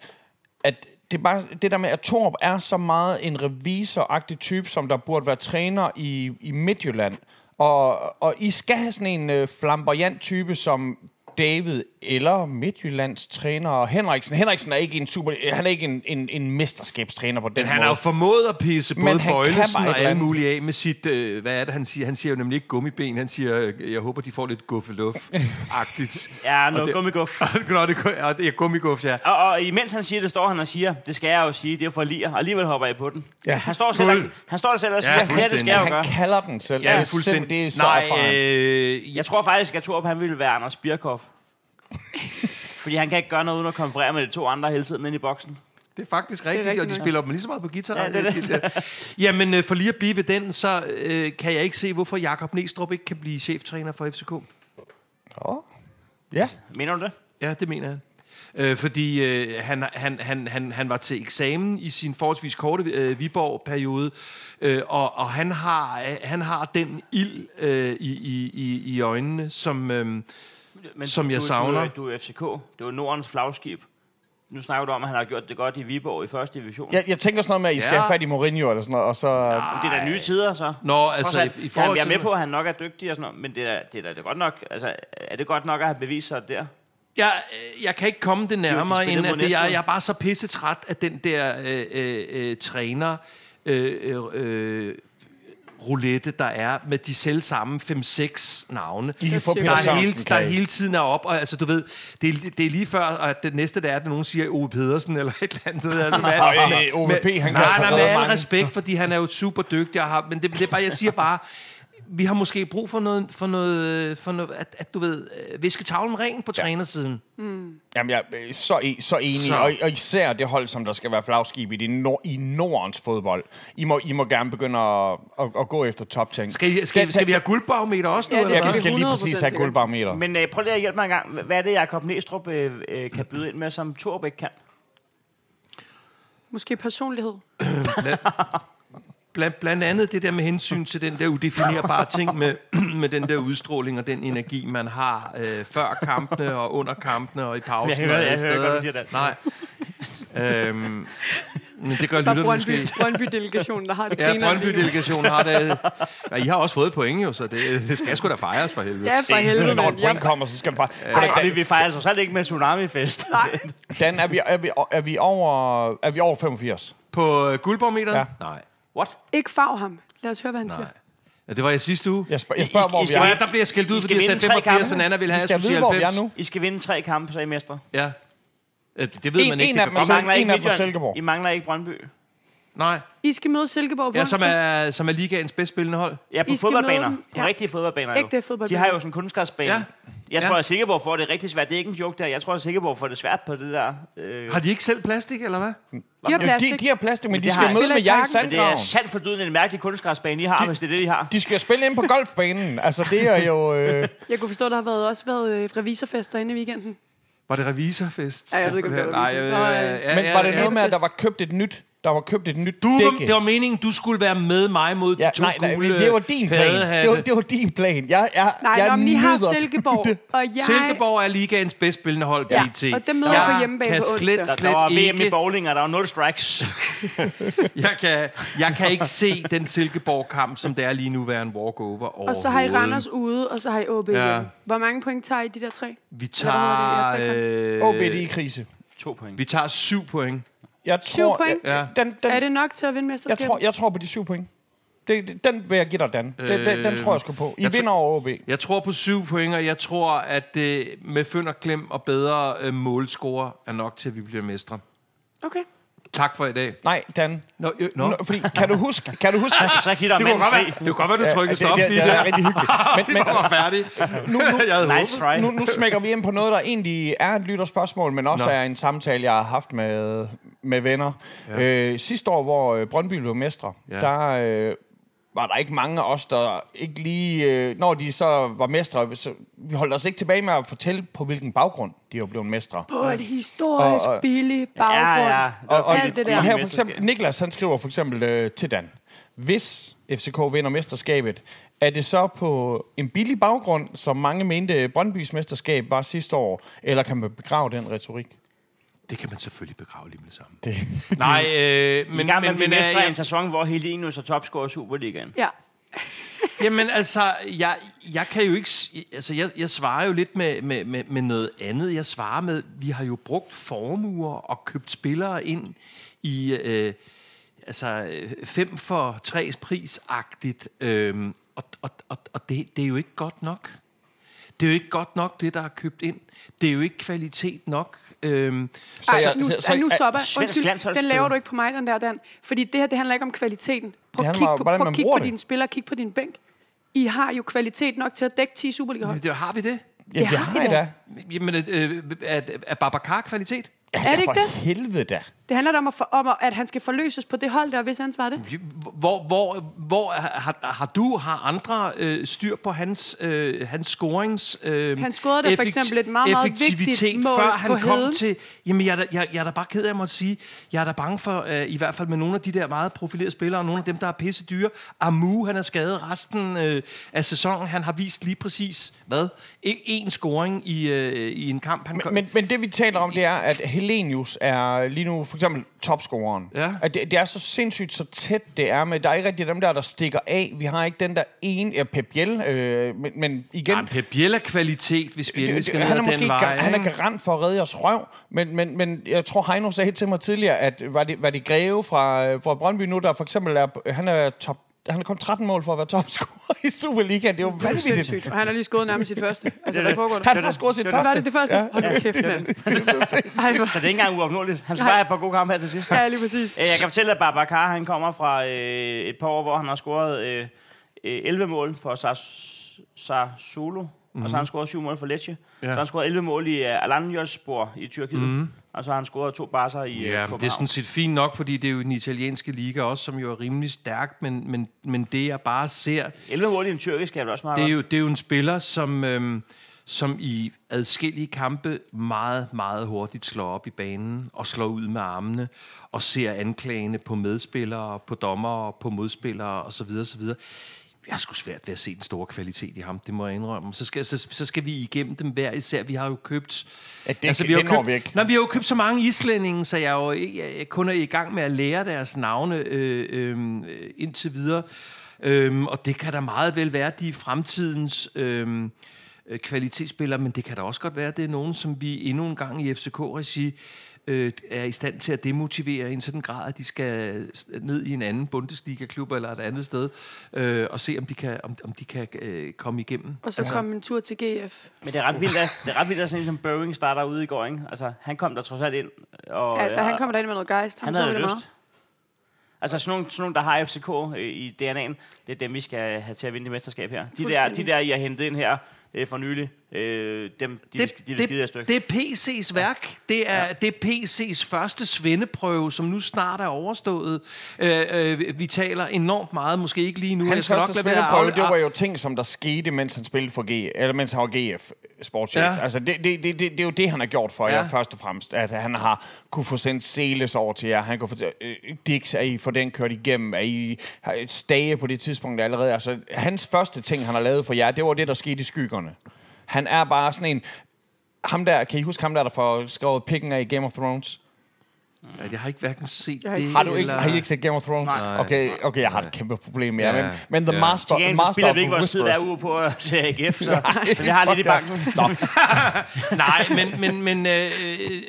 A: at det, er bare, det der med, at Torp er så meget en revisoragtig type, som der burde være træner i, i Midtjylland, og, og I skal have sådan en øh, flamboyant type, som David eller Midtjyllands træner Henriksen. Henriksen er ikke en super, han er ikke en, en, en mesterskabstræner på den
F: Men han
A: måde.
F: har jo formået at pisse
A: Men
F: både
A: han kan bare
F: Bøjlesen
A: et
F: og
A: eller
F: alle
A: andet.
F: mulige af med sit... Øh, hvad er det, han siger? Han siger jo nemlig ikke gummiben. Han siger, øh, jeg håber, de får lidt guffeluff-agtigt.
B: Ja,
F: Og
B: noget
F: det-
B: gummiguff.
F: Nå, det er ja, det er gummiguff, ja.
B: Og, og imens han siger det, står han og siger, det skal jeg jo sige, det er for lige, og alligevel hopper jeg på den. Ja. Han, står selv, og- han står selv og siger, ja, det her, det skal
F: fuldstændig.
B: jeg jo gøre.
A: han kalder den selv.
F: Ja,
A: det er simpelthen- Det er så
F: Nej,
A: erfaren.
F: øh,
B: Jeg tror faktisk, at Torp han ville være Anders Birkhoff. Fordi han kan ikke gøre noget uden at konferere med de to andre hele tiden inde i boksen.
F: Det er faktisk rigtigt, det
G: rigtigt
F: er rigtigt og de
G: nok.
F: spiller dem lige så meget på guitar.
B: Ja, det er det.
F: Jamen, øh, for lige at blive ved den, så øh, kan jeg ikke se, hvorfor Jakob Næstrup ikke kan blive cheftræner for FCK.
A: Åh. Ja.
B: Mener du det?
F: Ja, det mener jeg. Øh, fordi øh, han, han, han, han, han var til eksamen i sin forholdsvis korte øh, Viborg-periode, øh, og, og han, har, øh, han har den ild øh, i, i, i, i øjnene, som... Øh,
B: Men
F: Som jeg
B: du,
F: savner.
B: Du, du, er FCK. Det er jo Nordens flagskib. nu snakker du om, at han har gjort det godt i Viborg i første division. Ja.
A: Jeg, jeg tænker sådan noget med, at I skal
F: Ja.
A: have fat i Mourinho eller sådan noget, og så...
B: Det er da nye tider, så.
F: Nå,
B: Trods
F: altså
B: alt,
F: i, i
B: Jamen,
F: forhold
B: jeg er med
F: til...
B: på, at han nok er dygtig og sådan noget, men det er, da- det er da det er godt nok. Altså, er det godt nok at have bevist sig der?
F: Jeg, øh, jeg kan ikke komme det nærmere,
B: spillede
F: end
B: mod
F: at det, jeg,
B: Næstved.
F: jeg er bare så pissetræt af den der øh, øh, øh, træner... Øh, øh, øh, roulette, der er med de selv samme 5-6 navne.
A: I kan få
G: Der
A: Peter
F: der, er hele,
A: Sørensen,
F: der
A: kan I.
F: hele tiden er op, og altså, du ved, det er, det er lige før, at det næste, der er, at nogen siger Ove Pedersen eller et eller andet. ved jeg, Altså, med,
A: Og, øh, OVP, han kan
F: nej,
A: altså
F: nej, med
A: redde
F: al
A: mange.
F: respekt, fordi han er jo super dygtig, og har, men det, det er bare, jeg siger bare, vi har måske brug for noget, for noget, for noget at, at du ved, øh, viske tavlen ren på ja. trænersiden.
A: Jamen, jeg er så, e- så enig,
F: Så.
A: så. Og, og især det hold, som der skal være flagskib i, det nor- i Nordens fodbold. I må, I må gerne begynde at, at, at gå efter topting.
F: Skal, I- skal, skal vi have guldbarometer også nu?
G: Ja,
F: Ja,
G: det
F: eller
A: Ja, vi
F: hvad?
G: skal vi
A: skal lige
G: 100%
A: præcis have
G: sikkert.
A: guldbarometer.
B: Men øh, prøv lige at hjælpe mig en gang. Hvad er det, Jacob Næstrup øh, øh, kan byde ind med, som Torbæk kan?
G: Måske personlighed.
F: Blandt, blandt andet det der med hensyn til den der udefinerbare ting med, med den der udstråling og den energi, man har øh, før kampene og under kampene og i pausen.
B: Jeg hører-
F: og alle
B: jeg hører godt, du
F: steder.
B: siger det.
F: Nej. øhm, men det gør
G: Bare
F: lytterne
G: Brøndby,
F: måske.
G: Brøndby-delegationen, der har det
F: Ja,
G: grineren lige nu.
F: Brøndby-delegationen har det. Ja, I har også fået point jo, så det, det skal sgu da fejres for helvede.
G: Ja, for helvede.
A: Når
G: mand.
A: et
G: Jeg
A: point kommer, så skal den
B: Ej,
A: faktisk...
B: vi, vi fejrer altså selv ikke med Tsunami-fest.
A: Dan, er vi, er, vi, er, vi over, er vi over 85?
F: På øh, guldbarometeren?
A: Ja.
F: Nej,
B: What?
G: Ikke farv ham. Lad os høre, hvad han siger.
F: nej. Ja, det var jeg sidste uge.
A: Jeg, spørger, jeg spørger, hvor
B: I
A: vi
B: skal
F: Ja,
A: er.
F: der bliver jeg skældt ud,
B: skal
F: fordi jeg
B: vinde
F: sagde
B: tre
F: 85,
B: kampe.
F: og Nana ville
A: Vi
F: have, at jeg
A: skal
F: skulle
A: vide, hvor vi er nu.
B: I skal vinde tre kampe, så er I mestre.
F: Ja. Øh, Det ved
A: En-
F: man ikke.
A: en
F: det
A: af
F: kan
A: dem er
F: godt
A: så-
F: være.
A: mangler ikke en af dem
B: Midtjylland.
A: fra Silkeborg.
B: I mangler ikke Brøndby.
F: Nej.
G: I skal møde Silkeborg på
F: Ja, som
G: onsdag.
F: er, som er ligaens bedst spillende hold.
B: Ja, på
G: I skal
B: fodboldbaner.
G: møde dem.
B: På
G: Ja.
B: rigtige fodboldbaner.
G: Ægte fodboldbaner.
B: De har jo sådan en kunstgræsbane.
F: Ja.
B: Ja. Jeg
F: Ja.
B: tror, at Silkeborg får det rigtig svært. Det er ikke en joke der. Jeg tror, at Silkeborg får det svært på det der. Øh,
F: Har de ikke selv plastik, eller hvad?
G: De har
A: Jo, de,
G: plastik.
A: de har plastik, men de
B: det
A: skal
B: har-
A: møde med jer i
G: Men
B: det er
A: Sandgraven.
B: sandt for dyden en mærkelig kunstgræsbane, I har, hvis det er det, I har.
A: De skal spille ind på golfbanen. Altså, det er jo... Øh,
G: Jeg kunne forstå, der har været, også været øh, revisorfester inde i weekenden.
F: Var det revisorfest?
G: Ja, jeg ved ikke, om det var
F: Nej, jeg ved,
G: revisor.
F: ja,
G: Nej.
F: ja,
A: men var det
F: ja.
A: noget med, at der var købt et nyt... Der var købt et nyt
F: Du,
A: dække?
F: var, det var meningen, du skulle være med mig mod de
A: Ja,
F: to
A: nej, nej, men
F: gule
A: det var din plan. Det var, det var din plan. Jeg, jeg,
G: Nej,
A: jeg
G: jeg nå, men I har
A: nyder-
G: Silkeborg, og jeg...
F: Silkeborg er ligaens bedst spillende hold,
G: Ja,
F: BT.
G: og dem møder
F: jeg
G: på hjemmebane
F: kan
G: på onsdag.
F: slet,
B: Der, der
F: slet
B: var VM i
F: ikke,
B: bowling, og der var 0 strikes.
F: jeg, kan, jeg kan ikke se den Silkeborg-kamp, som det er lige nu, være en walkover
G: Og så har I Randers ude, og så har I OB
F: Ja.
G: igen. Hvor mange point tager I de der tre?
F: Vi
G: Eller hvad var det? Jeg
F: tager,
A: OB
F: øh,
A: i krise.
B: to point.
F: vi tager syv point.
A: Jeg
G: Syv
A: tror,
G: point?
A: Jeg,
F: Ja.
A: den, den,
G: Er det nok til at vinde
A: jeg,
G: mesterskabet?
A: tror, jeg tror på de syv point. Det, det, den vil jeg give dig, Dan. Den, den, den
F: Øh,
A: tror jeg sgu på. I
F: jeg tr-
A: vinder over OB.
F: Jeg tror på syv point, og jeg tror, at øh, med fynd og klem og bedre øh, målscorer er nok til, at vi bliver mestre.
G: Okay.
F: Tak for i dag.
A: Nej, Dan.
F: Nå, øh, nå. Altså,
A: Nå, fordi, kan du huske... Kan du huske
B: Så giver der
F: Det kunne
B: mand
F: godt være,
B: fri.
F: det kunne godt være du trykkede stop
A: altså, det, det,
F: lige
A: det, er
F: der.
A: rigtig hyggeligt. Men, men,
F: Jeg var færdig.
A: nu, nu,
F: Jeg havde
B: Nice
F: håbet.
A: nu,
B: try.
A: nu smækker vi ind på noget, der egentlig er et lytterspørgsmål, men også
F: Nå.
A: Nå. er en samtale, jeg har haft med, med venner. Ja. Øh, sidste år, hvor øh, Brøndby blev mestre,
F: Ja.
A: ja. der øh, var der ikke mange af os, der ikke lige... Øh, når de så var mestre, så, vi holdt os ikke tilbage med at fortælle, på hvilken baggrund de var blevet mestre.
G: På en historisk
A: Og- og-
G: billig baggrund.
B: Ja, ja.
A: Og, og,
G: Alt det der.
A: og her for
B: Mesterskab.
A: eksempel, Niklas han skriver for eksempel øh, til Dan, hvis FCK vinder mesterskabet, er det så på en billig baggrund, som mange mente øh, Brøndbys mesterskab var sidste år, eller kan man begrave den retorik?
F: Det kan man selvfølgelig begrave lige med det samme.
A: Det.
F: Nej, øh, men,
B: Men, gang, men,
F: men,
B: men,
F: øh,
B: mestre i en
F: jeg,
B: sæson, hvor Helenius er topscorer i Superligaen.
G: Ja.
F: jamen altså, jeg, jeg kan jo ikke... s- Altså, jeg, jeg svarer jo lidt med, med, med, med noget andet. Jeg svarer med, vi har jo brugt formuer og købt spillere ind i... Øh, altså, øh, fem for tres pris-agtigt. Øh, og og, og, og det, det er jo ikke godt nok. Det er jo ikke godt nok, det der er købt ind. Det er jo ikke kvalitet nok. Øh,
G: Ej,
A: jeg-
G: nu,
A: så- så-
G: ej, nu
A: ej,
G: stopper jeg.
B: svensk
G: Undskyld, den
B: landsholdsspiller.
G: laver du ikke på mig, den der, Dan. Fordi det her, det handler ikke om kvaliteten. Prøv
A: Det
G: at
A: handler
G: kigge
A: om,
G: på,
A: hvordan
G: prøv
A: man
G: at kigge
A: bruger
G: på
A: det.
G: dine spillere, kig på din bænk. I har jo kvalitet nok til at dække 10 Superliga-hold.
F: det, har vi det?
A: Ja, det har jeg da.
F: Jamen, øh, øh, er, er Babacar kvalitet?
G: Er det ikke
A: For
G: det?
A: helvede da.
G: Det Det handler da om, at, for, om at- at han skal forløses på det hold der, hvis ansvar er det.
F: Hvor, hvor, hvor har, har du, har andre øh, styr på hans, øh, hans scorings... Øh,
G: Han scorede da for eksempel et meget, meget vigtigt
F: effektivitet,
G: mål
F: før
G: på
F: han kom
G: heden.
F: til... Jamen, jeg er, da, jeg, jeg er da bare ked af at måtte sige, jeg er da bange for, øh, i hvert fald med nogle af de der meget profilerede spillere, og nogle af dem, der er pisse dyre. Amu, han er skadet resten øh, af sæsonen. Han har vist lige præcis, hvad? Ikke én scoring i, øh, i en kamp. Han kom-
A: Men, men det vi taler om, det er, at Helenius er lige nu for eksempel topscoreren.
F: Ja.
A: At det, det er så sindssygt så tæt, det er med. Der er ikke rigtig dem der, der stikker af. Vi har ikke den der ene... Ja, Pep Biel, øh, men, men igen...
F: Jamen, Pep Biel er kvalitet, hvis vi endelig
A: Det, det,
F: skal ned
A: han, er
F: ad
A: måske
F: den vej.
A: gar, han er
F: ikke?
A: garant for at redde os røv, men, men, men jeg tror, Heino sagde til mig tidligere, at var det, var det Greve fra, øh, fra Brøndby nu, der for eksempel er, han er top, han har kun 13 mål for at være topscorer i Superligaen. Det er jo vanvittigt.
G: Sindssygt. Og han har lige skåret nærmest sit første. Altså, hvad foregår der?
A: Han har scoret sit
G: Var
A: første.
G: det det første? Hold nu kæft, mand. Ej,
B: Så
G: hvor-
B: det er ikke engang uopnåeligt. Han skal bare have et par gode kampe her til sidst.
G: Ja, lige præcis.
B: Øh, Jeg kan fortælle, at Babacar, han kommer fra øh, et par år, hvor han har scoret øh, øh, 11 mål for Sassuolo, mm-hmm. og
F: Mhm.
B: så har han scoret 7 mål for Lecce. Ja. Så har han scoret 11 mål i uh, Alanyaspor i Tyrkiet, mm-hmm. og så har han scoret to basser i
F: Mhm.
B: øh,
F: Ja,
B: ja,
F: men det er sådan
B: København.
F: set fint nok, fordi det er jo den italienske liga også, som jo er rimelig stærk, men, men, men det jeg bare ser,
B: 11 mål i en tyrkisk er det også meget
F: det er
B: godt.
F: jo, det er jo en spiller, som, øhm, som i adskillige kampe meget, meget hurtigt slår op i banen og slår ud med armene og ser anklagene på medspillere, på dommere, på modspillere osv. osv. Jeg er sgu svært ved at se den store kvalitet i ham, det må jeg indrømme. Så skal, så, så skal vi igennem dem hver især. Vi har jo købt...
A: Ja, det- det når
F: købt,
A: vi ikke.
F: Nej, vi har jo købt så mange islændinge, så jeg er jo ikke- jeg, jeg kun er i gang med at lære deres navne øh, øh, øh, indtil videre. Øhm, og det kan da meget vel være, de er fremtidens øhm, øh, kvalitetsspillere, men det kan da også godt være, at det er nogen, som vi endnu en gang i FCK-regi øh, er i stand til at demotivere i en sådan grad, at de skal ned i en anden Bundesliga-klub eller et andet sted, øh, og se, om de kan, om, om de kan øh, komme igennem.
G: Og
A: Altså.
G: så kom en tur til GF.
B: Men det er ret vildt, at, det er ret vildt, at sådan en som Boeing starter ude i går, ikke? Altså, han kom der trods alt ind, og øh,
G: Ja, da han kommer derind med noget gejst. Ham
B: han
G: så
B: havde
G: vi det
B: lyst.
G: meget.
B: Altså sådan nogle, sådan nogle, der har FCK øh, i DNA'en, det er dem, vi skal have til at vinde det mesterskab her. De der, de
G: Fuldstændig.
B: der I har hentet ind her øh, for nylig, øh, dem, de, det, vil, de vil
F: det,
B: skide jer stykke.
F: det er PC's værk. Det er, ja. det er PC's første svendeprøve, som nu snart er overstået. Øh, øh, vi taler enormt meget, måske ikke lige nu.
A: Hans første
F: med at
A: svendeprøve,
F: afle-
A: det var jo ting, som der skete, mens han spillede for G, eller mens han var GF sportschef.
F: Ja.
A: Ja. Altså, det, det, det, det, det, er jo det, han har gjort for
F: Ja.
A: ja. jer, først og fremmest. At han har kunne få sendt Seles over til jer. Han kunne få, øh, Dix, er I for den kørt igennem? Er I har I stage på det tidspunkt allerede? Altså, hans første ting, han har lavet for jer, det var det, der skete i skyggerne. Han er bare sådan en... Ham der, kan I huske ham der, der får skrevet pikken af i Game of Thrones?
F: Ja, Jeg har ikke hverken set
G: har ikke
F: det
G: set
A: Har du ikke,
F: eller-
A: har I ikke set Game of Thrones?
B: Nej.
A: Okay, okay, jeg har et kæmpe problem med
F: Ja.
A: ja. men, men The
F: Ja.
A: Master,
B: Til gengæld så
A: master
B: spiller
A: of the
B: vi ikke vores tid
A: Whispers-
B: hver uge på at til AGF, så, så vi har lidt i
A: fuck ja.
B: banken.
F: Nej, men, men, men øh, øh,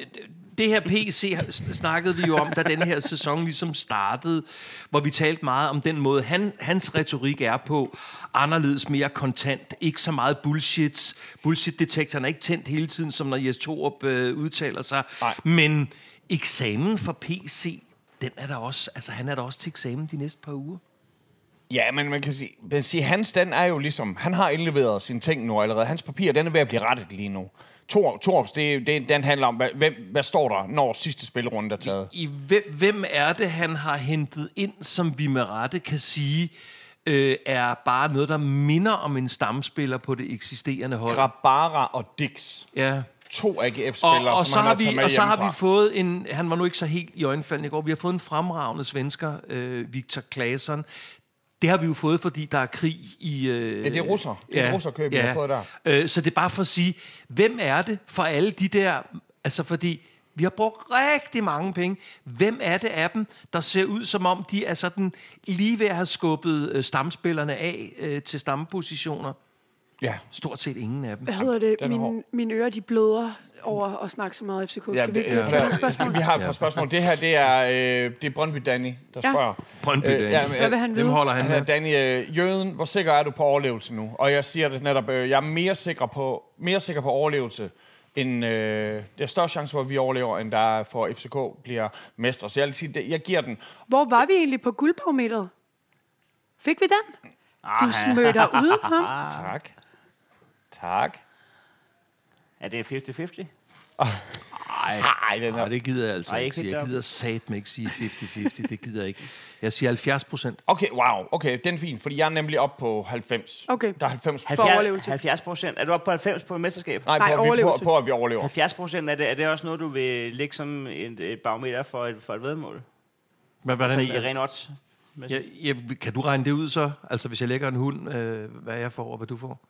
F: det her PC har- sn- snakkede vi jo om, da den her sæson ligesom startede, hvor vi talte meget om den måde, han, hans retorik er på. Anderledes, mere kontant, ikke så meget bullshit. Bullshit-detektoren er ikke tændt hele tiden, som når Jes Torup øh, udtaler sig. Nej. Men eksamen for PC, den er der også, altså han er der også til eksamen de næste par uger.
A: Ja, men man kan sige, man sige hans den er jo ligesom, han har indleveret sine ting nu allerede. Hans papir, den er ved at blive rettet lige nu. Tor, Torps, det, det, den handler om, hvad, hvem, hvad står der, når sidste spillerunde er taget?
F: I, hvem, hvem er det, han har hentet ind, som vi med rette kan sige, øh, er bare noget, der minder om en stamspiller på det eksisterende hold?
A: Grabara og Dix.
F: Ja.
A: To
F: Og,
A: AGF-spillere,
F: og,
A: som
F: så
A: han
F: har
A: har taget
F: vi,
A: med
F: og så har
A: hjemmefra.
F: vi fået en, han var nu ikke så helt i øjenfaldene i går, vi har fået en fremragende svensker, øh, Victor Claesson. Det har vi jo fået, fordi der er krig i... Øh,
A: Ja, det er russer. Det er russerkøb, vi har fået der.
F: Øh, så det er bare for at sige, hvem er det for alle de der... Altså fordi vi har brugt rigtig mange penge. Hvem er det af dem, der ser ud som om, de er sådan lige ved at have skubbet øh, stamspillerne af øh, til stammepositioner?
A: Ja.
F: Stort set ingen af dem.
G: Hvad hedder det?
A: den er hård.
G: Mine, mine ører, de bløder over at snakke så meget FCK. Skal
A: Ja,
G: vi ikke
A: ja,
G: ja, tage et spørgsmål?
A: vi har et par spørgsmål. Det her, det er, øh, det er Brøndby Danny, der
G: Ja.
A: spørger.
F: Brøndby,
A: Øh, ja,
G: Hvad vil han
F: Hvem
G: vide?
F: holder han
A: Han er
F: med?
A: Danny øh, Jøden. Hvor sikker er du på overlevelse nu? Og jeg siger det netop, øh, jeg er mere sikker på, mere sikker på overlevelse, end øh, der er større chance for, at vi overlever, end der er for, at FCK bliver mestre. Så jeg vil sige, det, jeg giver den.
G: Hvor var vi egentlig på guldbarometeret? Fik vi den? Du smød dig udenom.
A: Tak. Tak.
B: Er det 50-50?
A: Ej, Nej, den
F: Nej,
A: her.
F: det gider jeg altså
B: Ej,
F: ikke
B: ikke
F: sige.
B: helt
F: Jeg
B: op.
F: gider satme ikke sige 50-50. det gider jeg ikke. Jeg siger 70 procent.
A: Okay, wow. Okay, den er fin, fordi jeg er nemlig oppe på 90.
G: Okay.
A: Der er 90
G: For overlevelse.
B: 70 procent. Er du oppe på 90 på et mesterskab?
A: Nej,
G: Nej,
A: på, at vi, på,
G: overlevelse.
A: på, at vi overlever.
B: 70 procent, er det, er det også noget, du vil lægge som et, et barometer for et, for et vedmål?
F: Men
B: Altså
F: hvordan,
B: i ren odds?
F: jeg, jeg, kan du regne det ud så? Altså, hvis jeg lægger en hund, øh, hvad jeg får og hvad du får?
B: Øh,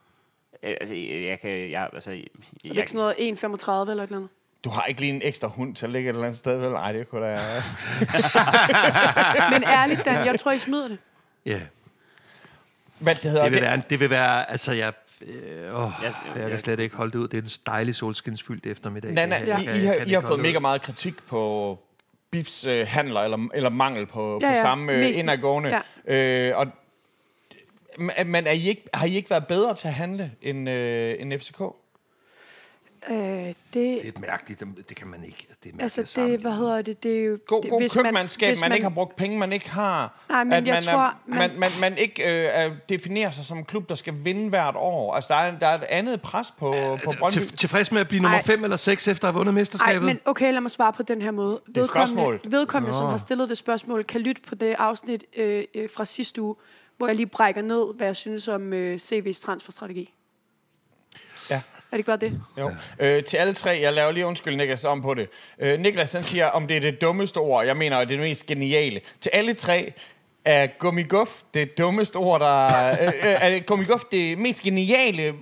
B: Altså, jeg, jeg kan... Jeg, altså, jeg,
G: Er det ikke sådan noget 1,35 eller et eller andet?
A: Du har ikke lige en ekstra hund til at ligge et eller andet sted, vel? Nej, det øh, kunne da...
G: Men ærligt, Dan, jeg tror, I smider det.
F: Ja, yeah.
A: Hvad det hedder?
F: det, vil være, en- det vil være... Altså, jeg... Øh, åh,
B: Jeg-
F: jeg kan
B: jeg-
F: slet ikke holde det ud. Det er en dejlig solskinsfyldt eftermiddag.
A: Nana,
F: Jeg
A: ja.
F: Øh, kan-
A: I, I,
F: jeg
A: har,
F: kan
A: I har
F: ikke
A: fået
F: holde det
A: mega
F: ud.
A: meget kritik på Bifs øh, handler, eller, eller mangel på,
G: Ja,
A: på
G: ja.
A: samme øh,
G: Mest-
A: indadgående. Ja. Øh, og, men- men er I ikke, har I ikke været bedre til at handle end, øh, end FCK?
G: Øh, det,
F: Det er et mærkeligt... Det kan man ikke... Det er mærkeligt
G: Altså, det,
F: altså,
G: hvad hedder det, det er jo...
A: God,
G: det,
A: god
G: hvis
A: købmandskab, man,
G: hvis
A: man, man ikke har brugt penge, man ikke har.
G: Nej, men jeg
A: man,
G: tror,
A: er,
G: man-
A: man, man, man, man ikke øh, er- definerer sig som en klub, der skal vinde hvert år. Altså, der er, der er et andet pres på, på Brøndby.
F: altså, Til, tilfreds med at blive nummer
G: Ej.
F: 5 eller 6 efter at have vundet
G: Ej,
F: mesterskabet?
G: men okay, lad mig svare på den her måde. Det
A: er et spørgsmål.
G: Vedkommende, som har stillet det spørgsmål, kan lytte på det afsnit øh, øh, fra sidste uge, hvor jeg lige brækker ned, hvad jeg synes om øh, CV's transferstrategi.
A: Ja.
G: Er det ikke bare det?
A: Jo. Øh, til alle tre, jeg laver lige undskyld Niklas om på det. Øh, Niklas han siger, om det er det dummeste ord, jeg mener, at det er det mest geniale. Til alle tre er gummiguff det dummeste ord, der... øh, øh, er gummiguff det mest geniale,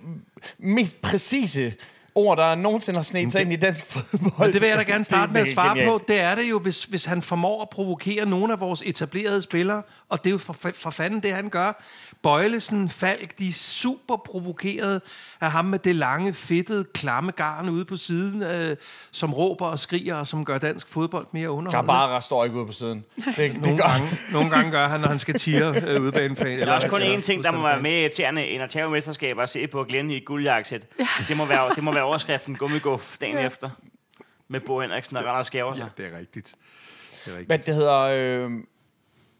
A: mest præcise ord, der nogensinde har sneget sig ind i dansk fodbold.
F: Men det vil jeg da gerne starte med at
A: mega
F: svare
A: genialt.
F: på. Det er det jo, hvis, hvis han formår at provokere nogle af vores etablerede spillere, og det er jo for, for fanden det, han gør. Bøjlesen, Falk, de er super provokeret af ham med det lange, fedtede, klamme garn ude på siden, øh, som råber og skriger, og som gør dansk fodbold mere underholdende.
A: Tabara står ikke ude på siden. Det, det
F: Nogle
A: gør
F: gange, nogle gange gør han, når han skal tire øh, ude bag en fan.
B: Der er også kun én ting, der må være mere irriterende end at tage mesterskaber og se på Glenn i et guldjakkesæt. Det, må være, det må være overskriften gummiguff dagen efter. Med Bo Henriksen og Randers Gaver. Ja.
H: Det er rigtigt. Det er rigtigt.
A: Hvad det hedder... Øh,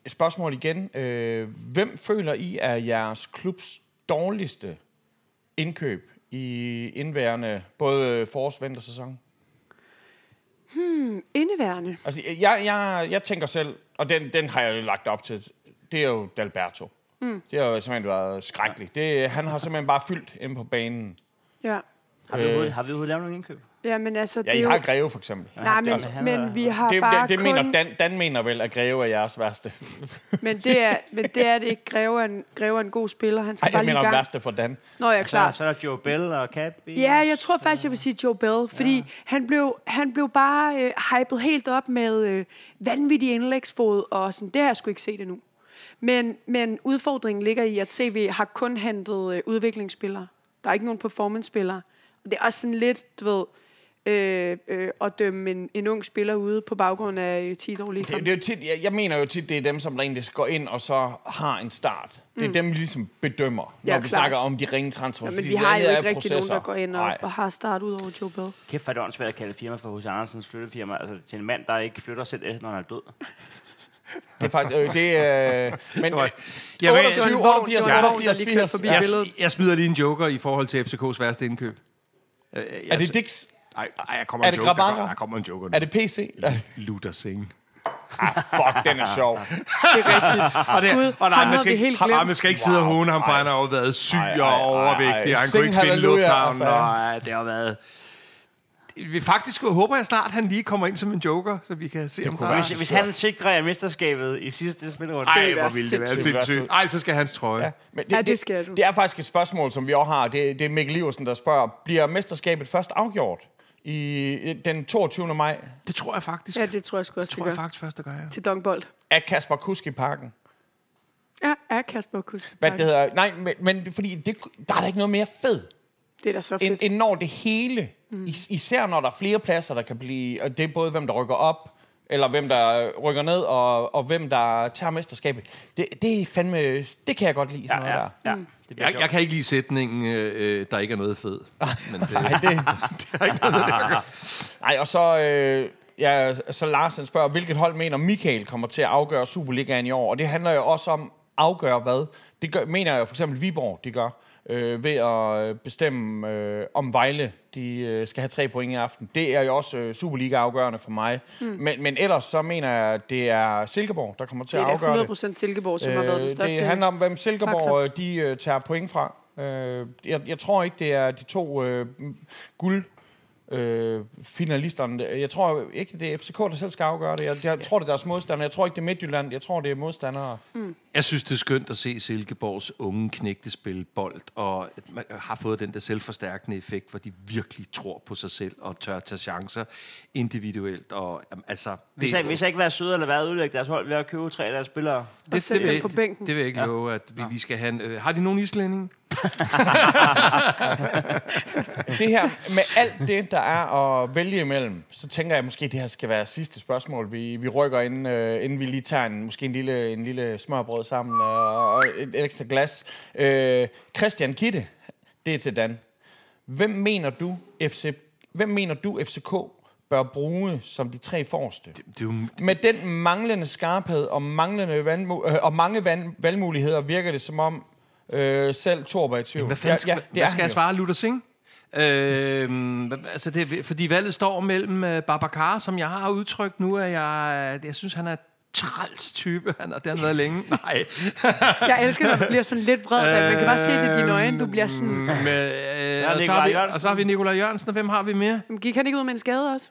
A: spørgsmål igen. Øh, hvem føler I er jeres klubs dårligste indkøb i indværende både forårs-vintersæson?
G: Indeværende.
A: Altså, jeg, jeg, jeg tænker selv, og den, den har jeg jo lagt op til, det er jo Dalberto. Mm. Det har jo simpelthen været skrækkeligt. Det, han har simpelthen bare fyldt ind på banen.
G: Ja.
B: Har, vi overhovedet, har vi overhovedet lavet nogle indkøb?
G: Ja, men altså,
A: Ja,
G: det
A: I
G: er
A: har
G: jo...
A: Greve for eksempel. Det,
G: Nej, men,
B: Altså, han er-
G: men vi har bare
A: det, det
G: kun...
A: mener Dan, Dan mener vel, at Greve er jeres værste.
G: Men det er, men det er det ikke. Greve er en, Greve er en god spiller. Han skal
A: Ej,
G: bare
A: jeg
G: lige i
A: mener Altså,
G: gang.
A: værste for Dan.
G: Nå, jeg er
B: Så,
G: klar.
B: så er der Joe Bell og Cap.
G: Ja, jeg tror faktisk, jeg vil sige Joe Bell, fordi ja. han, blev, han blev bare øh, hypet helt op med øh, vanvittig indlægsfod, og sådan, det har jeg sgu ikke set endnu. Men, men udfordringen ligger i, at TV har kun hentet øh, udviklingsspillere. Der er ikke nogen performance-spillere. Det er også sådan lidt, du ved, øh, øh, at dømme en, en ung spiller ude på baggrund af øh, 10 dårlige
A: Det,
G: kampe.
A: det er jo tit, jeg, jeg mener jo tit, det er dem, som rent faktisk går ind og så har en start. Det er mm. dem, vi ligesom bedømmer, når
G: Ja,
A: ja, vi
G: klart.
A: snakker om de ringe transfer.
G: Ja,
A: fordi
G: men vi
A: det
G: har jo
A: andet er
G: ikke rigtig nogen,
A: processer.
G: der går ind og,
A: Nej.
G: og har start ud over Joe Bell.
B: Kæft, hvor er det åndssvagt at kalde et firma for H.C. Andersens flyttefirma. Altså til en mand, der ikke flytter selv, øh, når han er død.
A: Det er faktisk... Øh, det, øh, men, øh,
F: Jeg, vil-
A: 28,
G: vogn,
A: 88,
G: det var en vogn,
A: 88,
G: der lige kørte
A: 80.
G: forbi
A: Ja.
F: jeg, jeg smider lige en joker i forhold til FCK's værste indkøb. Øh, jeg-
A: Er det Dix?
H: Ej, ej, jeg kommer
A: Er
H: en
A: det
H: joker. Der,
A: Grabara?
H: der kommer en joker nu.
A: Er det PC? Er det-
H: Luther Singh?
A: Fuck, den er sjov.
G: Det er rigtigt.
F: Og Ah, det,
G: Gud,
F: og nej,
G: ham
F: man
G: havde
F: skal,
G: vi
F: ikke,
G: helt
F: ham,
G: glemt.
F: ah, man skal ikke sidde og
A: Wow,
F: hone ham, for
A: ej.
F: han har jo været syg
A: Ej, ej,
F: og
A: ej,
F: overvægtig,
A: ej.
F: og han
A: Sing
F: kunne ikke finde
A: halleluja,
F: lufthavnen.
A: altså.
F: Nej, det har været... Vi faktisk håber jeg snart, at han lige kommer ind som en joker, så vi kan se, om der
B: Hvis, hvis han sikrer jer mesterskabet i sidste spillerunde.
F: Ej,
G: ville
F: hvor
G: være
F: ville det være
A: sindssygt.
F: sindssygt. Ej, så skal hans trøje. Ja.
A: Men
G: Ja, det skal du.
A: Det er faktisk et spørgsmål, som vi også har. Det, det er Mikkel Iversen, der spørger. Bliver mesterskabet først afgjort i den 22. maj
F: Det tror jeg faktisk.
G: Ja,
F: det
G: det tror jeg sgu også, det
F: tror jeg
G: gør.
F: faktisk først, der gør jeg.
G: Til Dongbold.
A: af Kasper Kusk i parken?
G: Ja, er Kasper Kusk.
A: Hvad det hedder? Nej, men, men fordi det, der er da ikke noget mere fed,
G: Det er da så
A: end,
G: fedt.
A: end når det hele, mm. især når der er flere pladser, der kan blive, og det er både hvem, der rykker op, eller hvem, der rykker ned, og, og hvem, der tager mesterskabet. Det, det er fandme, det kan jeg godt lide, sådan ja, noget ja. der.
B: ja. Det bliver
F: Jeg,
B: sjovt.
F: jeg kan ikke lide sætningen, øh, øh, der ikke er noget fed. Men det,
A: Nej, det, det er ikke noget, Nej, og så, øh, ja, så Larsen spørger, hvilket hold mener Michael kommer til at afgøre Superligaen i år? Og det handler jo også om, afgøre hvad? Det gør, mener jeg jo for eksempel Viborg, det gør. øh, ved at bestemme, øh, om Vejle de, øh, skal have tre point i aften. Det er jo også øh, Superliga-afgørende for mig. Mm.
G: Hmm.
A: Men, men ellers så mener jeg, at det er Silkeborg, der kommer til
G: Det
A: at
G: er
A: afgøre det.
G: da 100% Silkeborg, som har været den
A: Øh,
G: største.
A: Det handler om, hvem Silkeborg
G: faktor.
A: øh, de, øh, tager point fra. Øh, jeg, jeg tror ikke, det er de to øh, guld øh, finalisterne. Jeg tror ikke, det er FCK, der selv skal afgøre det. Jeg, jeg tror, det er deres modstandere. Jeg tror ikke, det er Midtjylland. Jeg tror, det er modstandere.
F: Jeg synes, det er skønt at se Silkeborgs unge knægte spille bold, og at man har fået den der selvforstærkende effekt, hvor de virkelig tror på sig selv og tør tage chancer individuelt. Og, jamen, altså,
B: Vi skal, vi skal ikke være søde eller være ødelægge deres hold ved at købe tre af deres spillere.
G: Og sætte
F: vil-
G: dem på bænken.
F: Det vil jeg ikke love, at vi, vi skal have... en- Øh, har de nogen islænding?
A: Det her, med alt det, der er at vælge imellem, så tænker jeg måske, det her skal være sidste spørgsmål. Vi, vi rykker, inden, øh, inden vi lige tager en, måske en lille, en lille smørbrød sammen øh, og, og et, et ekstra glas. Øh, Christian Kitte, det er til Dan. Hvem mener du, FC, hvem mener du FCK bør bruge som de tre forreste?
F: Det er jo
A: Med den manglende skarphed og, manglende vandmu- øh, og mange van- valgmuligheder virker det som om, øh, selv Torber er i tvivl.
F: Hvad fanden skal, ja, ja,
A: det er
F: hvad skal
A: han
F: jeg
A: jo.
F: svare Luther Singh? Øhm, hvad- altså det, fordi valget står mellem øh, Babacar, som jeg har udtrykt nu, at jeg, jeg synes, han er træls type, han, og det har han været længe. Nej.
G: Jeg elsker, når du bliver sådan lidt vred. Øh, man kan bare se det i dine øjne. Du bliver sådan...
F: Øhm, mm,
A: Mm.
F: Med, øh, og, så har
B: Nikolaj
F: vi,
B: Jørgensen.
F: og så har vi Nikolaj Jørgensen, og hvem har vi mere?
G: Jamen, Gik han ikke ud med en skade også?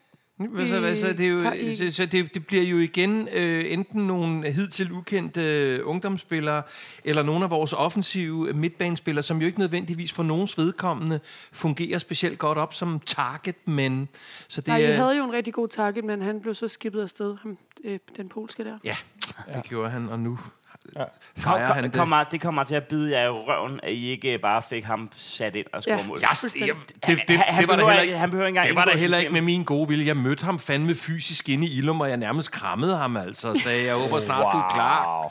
F: Hvad så, hvad så, det, er
G: Par
F: jo,
G: i-
F: så, så det, det bliver jo igen øh, enten nogle hidtil ukendte øh, ungdomsspillere, eller nogle af vores offensive midtbanespillere, som jo ikke nødvendigvis for nogens vedkommende fungerer specielt godt op som target, men så det
G: Nej, I
F: er...
G: havde jo en rigtig god target, men han blev så skippet afsted, ham, øh, den polske der.
F: Ja, det gjorde han, og nu ja.
B: Kom,
F: fejrer han
B: kom,
F: det.
B: kommer, det kommer til at bide jer i røven, at I ikke øh, bare fik ham sat ind og score
G: Ja.
B: mål.
F: Jeg, jeg,
G: Fuldstændig.
F: det, det,
B: Han- han
F: det var der
B: behøver
F: heller
B: ikke-
F: ikke,
B: han behøver ikke engang
F: det var
B: indgå
F: der
B: i
F: heller ikke med
B: systemet.
F: min gode vilje. Jeg mødte ham fandme fysisk inde i Ilum, og jeg nærmest krammede ham altså, og sagde, jeg håber snart, wow. du er klar.
A: Wow.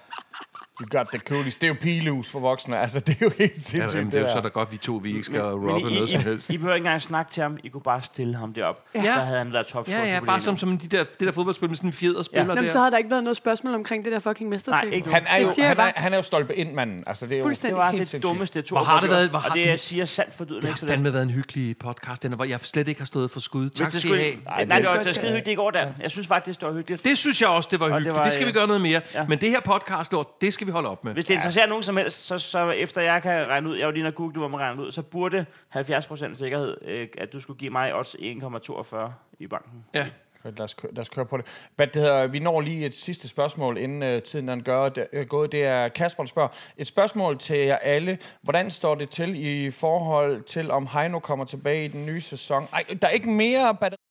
A: You got the coolies. Det er jo pilehus for voksne. Altså, det er jo helt
F: Ja,
A: sindssygt,
F: jamen,
A: det,
F: det er jo
A: der.
F: så da godt, vi to vi ikke skal
B: Men
F: robbe noget som helst.
B: I behøver ikke engang snakke til ham. I kunne bare stille ham derop. Ja.
F: Ja.
B: Så havde han været topscorer.
F: Ja,
B: i
F: ja, bare
B: Superligaen.
F: som, som de der, det der fodboldspil med sådan en fjederspiller
G: Nå,
F: ja.
G: men så
F: der.
G: havde der ikke været noget spørgsmål omkring det der fucking mesterskab.
B: Nej, ikke nu.
A: Han er
G: Det
A: jo,
G: siger jeg
A: han er,
G: bare.
A: han er jo stolpe ind, manden. Altså, det er jo
G: Fuldstændig.
B: Det var
A: helt
B: det
A: sindssygt.
B: dummeste tur.
F: Hvor har det
B: gjort,
F: været- hvor har
B: og det,
F: det-
B: jeg siger sandt for dyden,
F: Det har
B: ikke sådan.
F: fandme været en hyggelig podcast, den, hvor jeg slet ikke har stået for skud.
B: Hvis
F: Tak
B: det
F: skal I
B: skulle...
F: have.
B: Nej, nej, det var det var skide hyggeligt i går, Dan. Jeg synes faktisk, det var hyggeligt.
F: Det synes jeg også, det var
B: det
F: hyggeligt.
B: var,
F: Det, skal vi
B: øh,
F: gøre noget mere.
B: ja.
F: Men det her podcast, lort, det skal vi holde op med.
B: Hvis det interesserer nogen som helst, så, så efter jeg kan regne ud, jeg var lige når Google, hvor man regner ud, så burde 70% sikkerhed, øh, at du skulle give mig odds 1,42 i banken.
F: Ja.
A: Lad os, køre, lad os køre på det. Hvad det hedder, vi når lige et sidste spørgsmål, inden uh, tiden er gør, det, øh, gået. Det er Kasper, der spørger. Et spørgsmål til jer alle. Hvordan står det til i forhold til, om Heino kommer tilbage i den nye sæson? Ej, der er ikke mere batteri.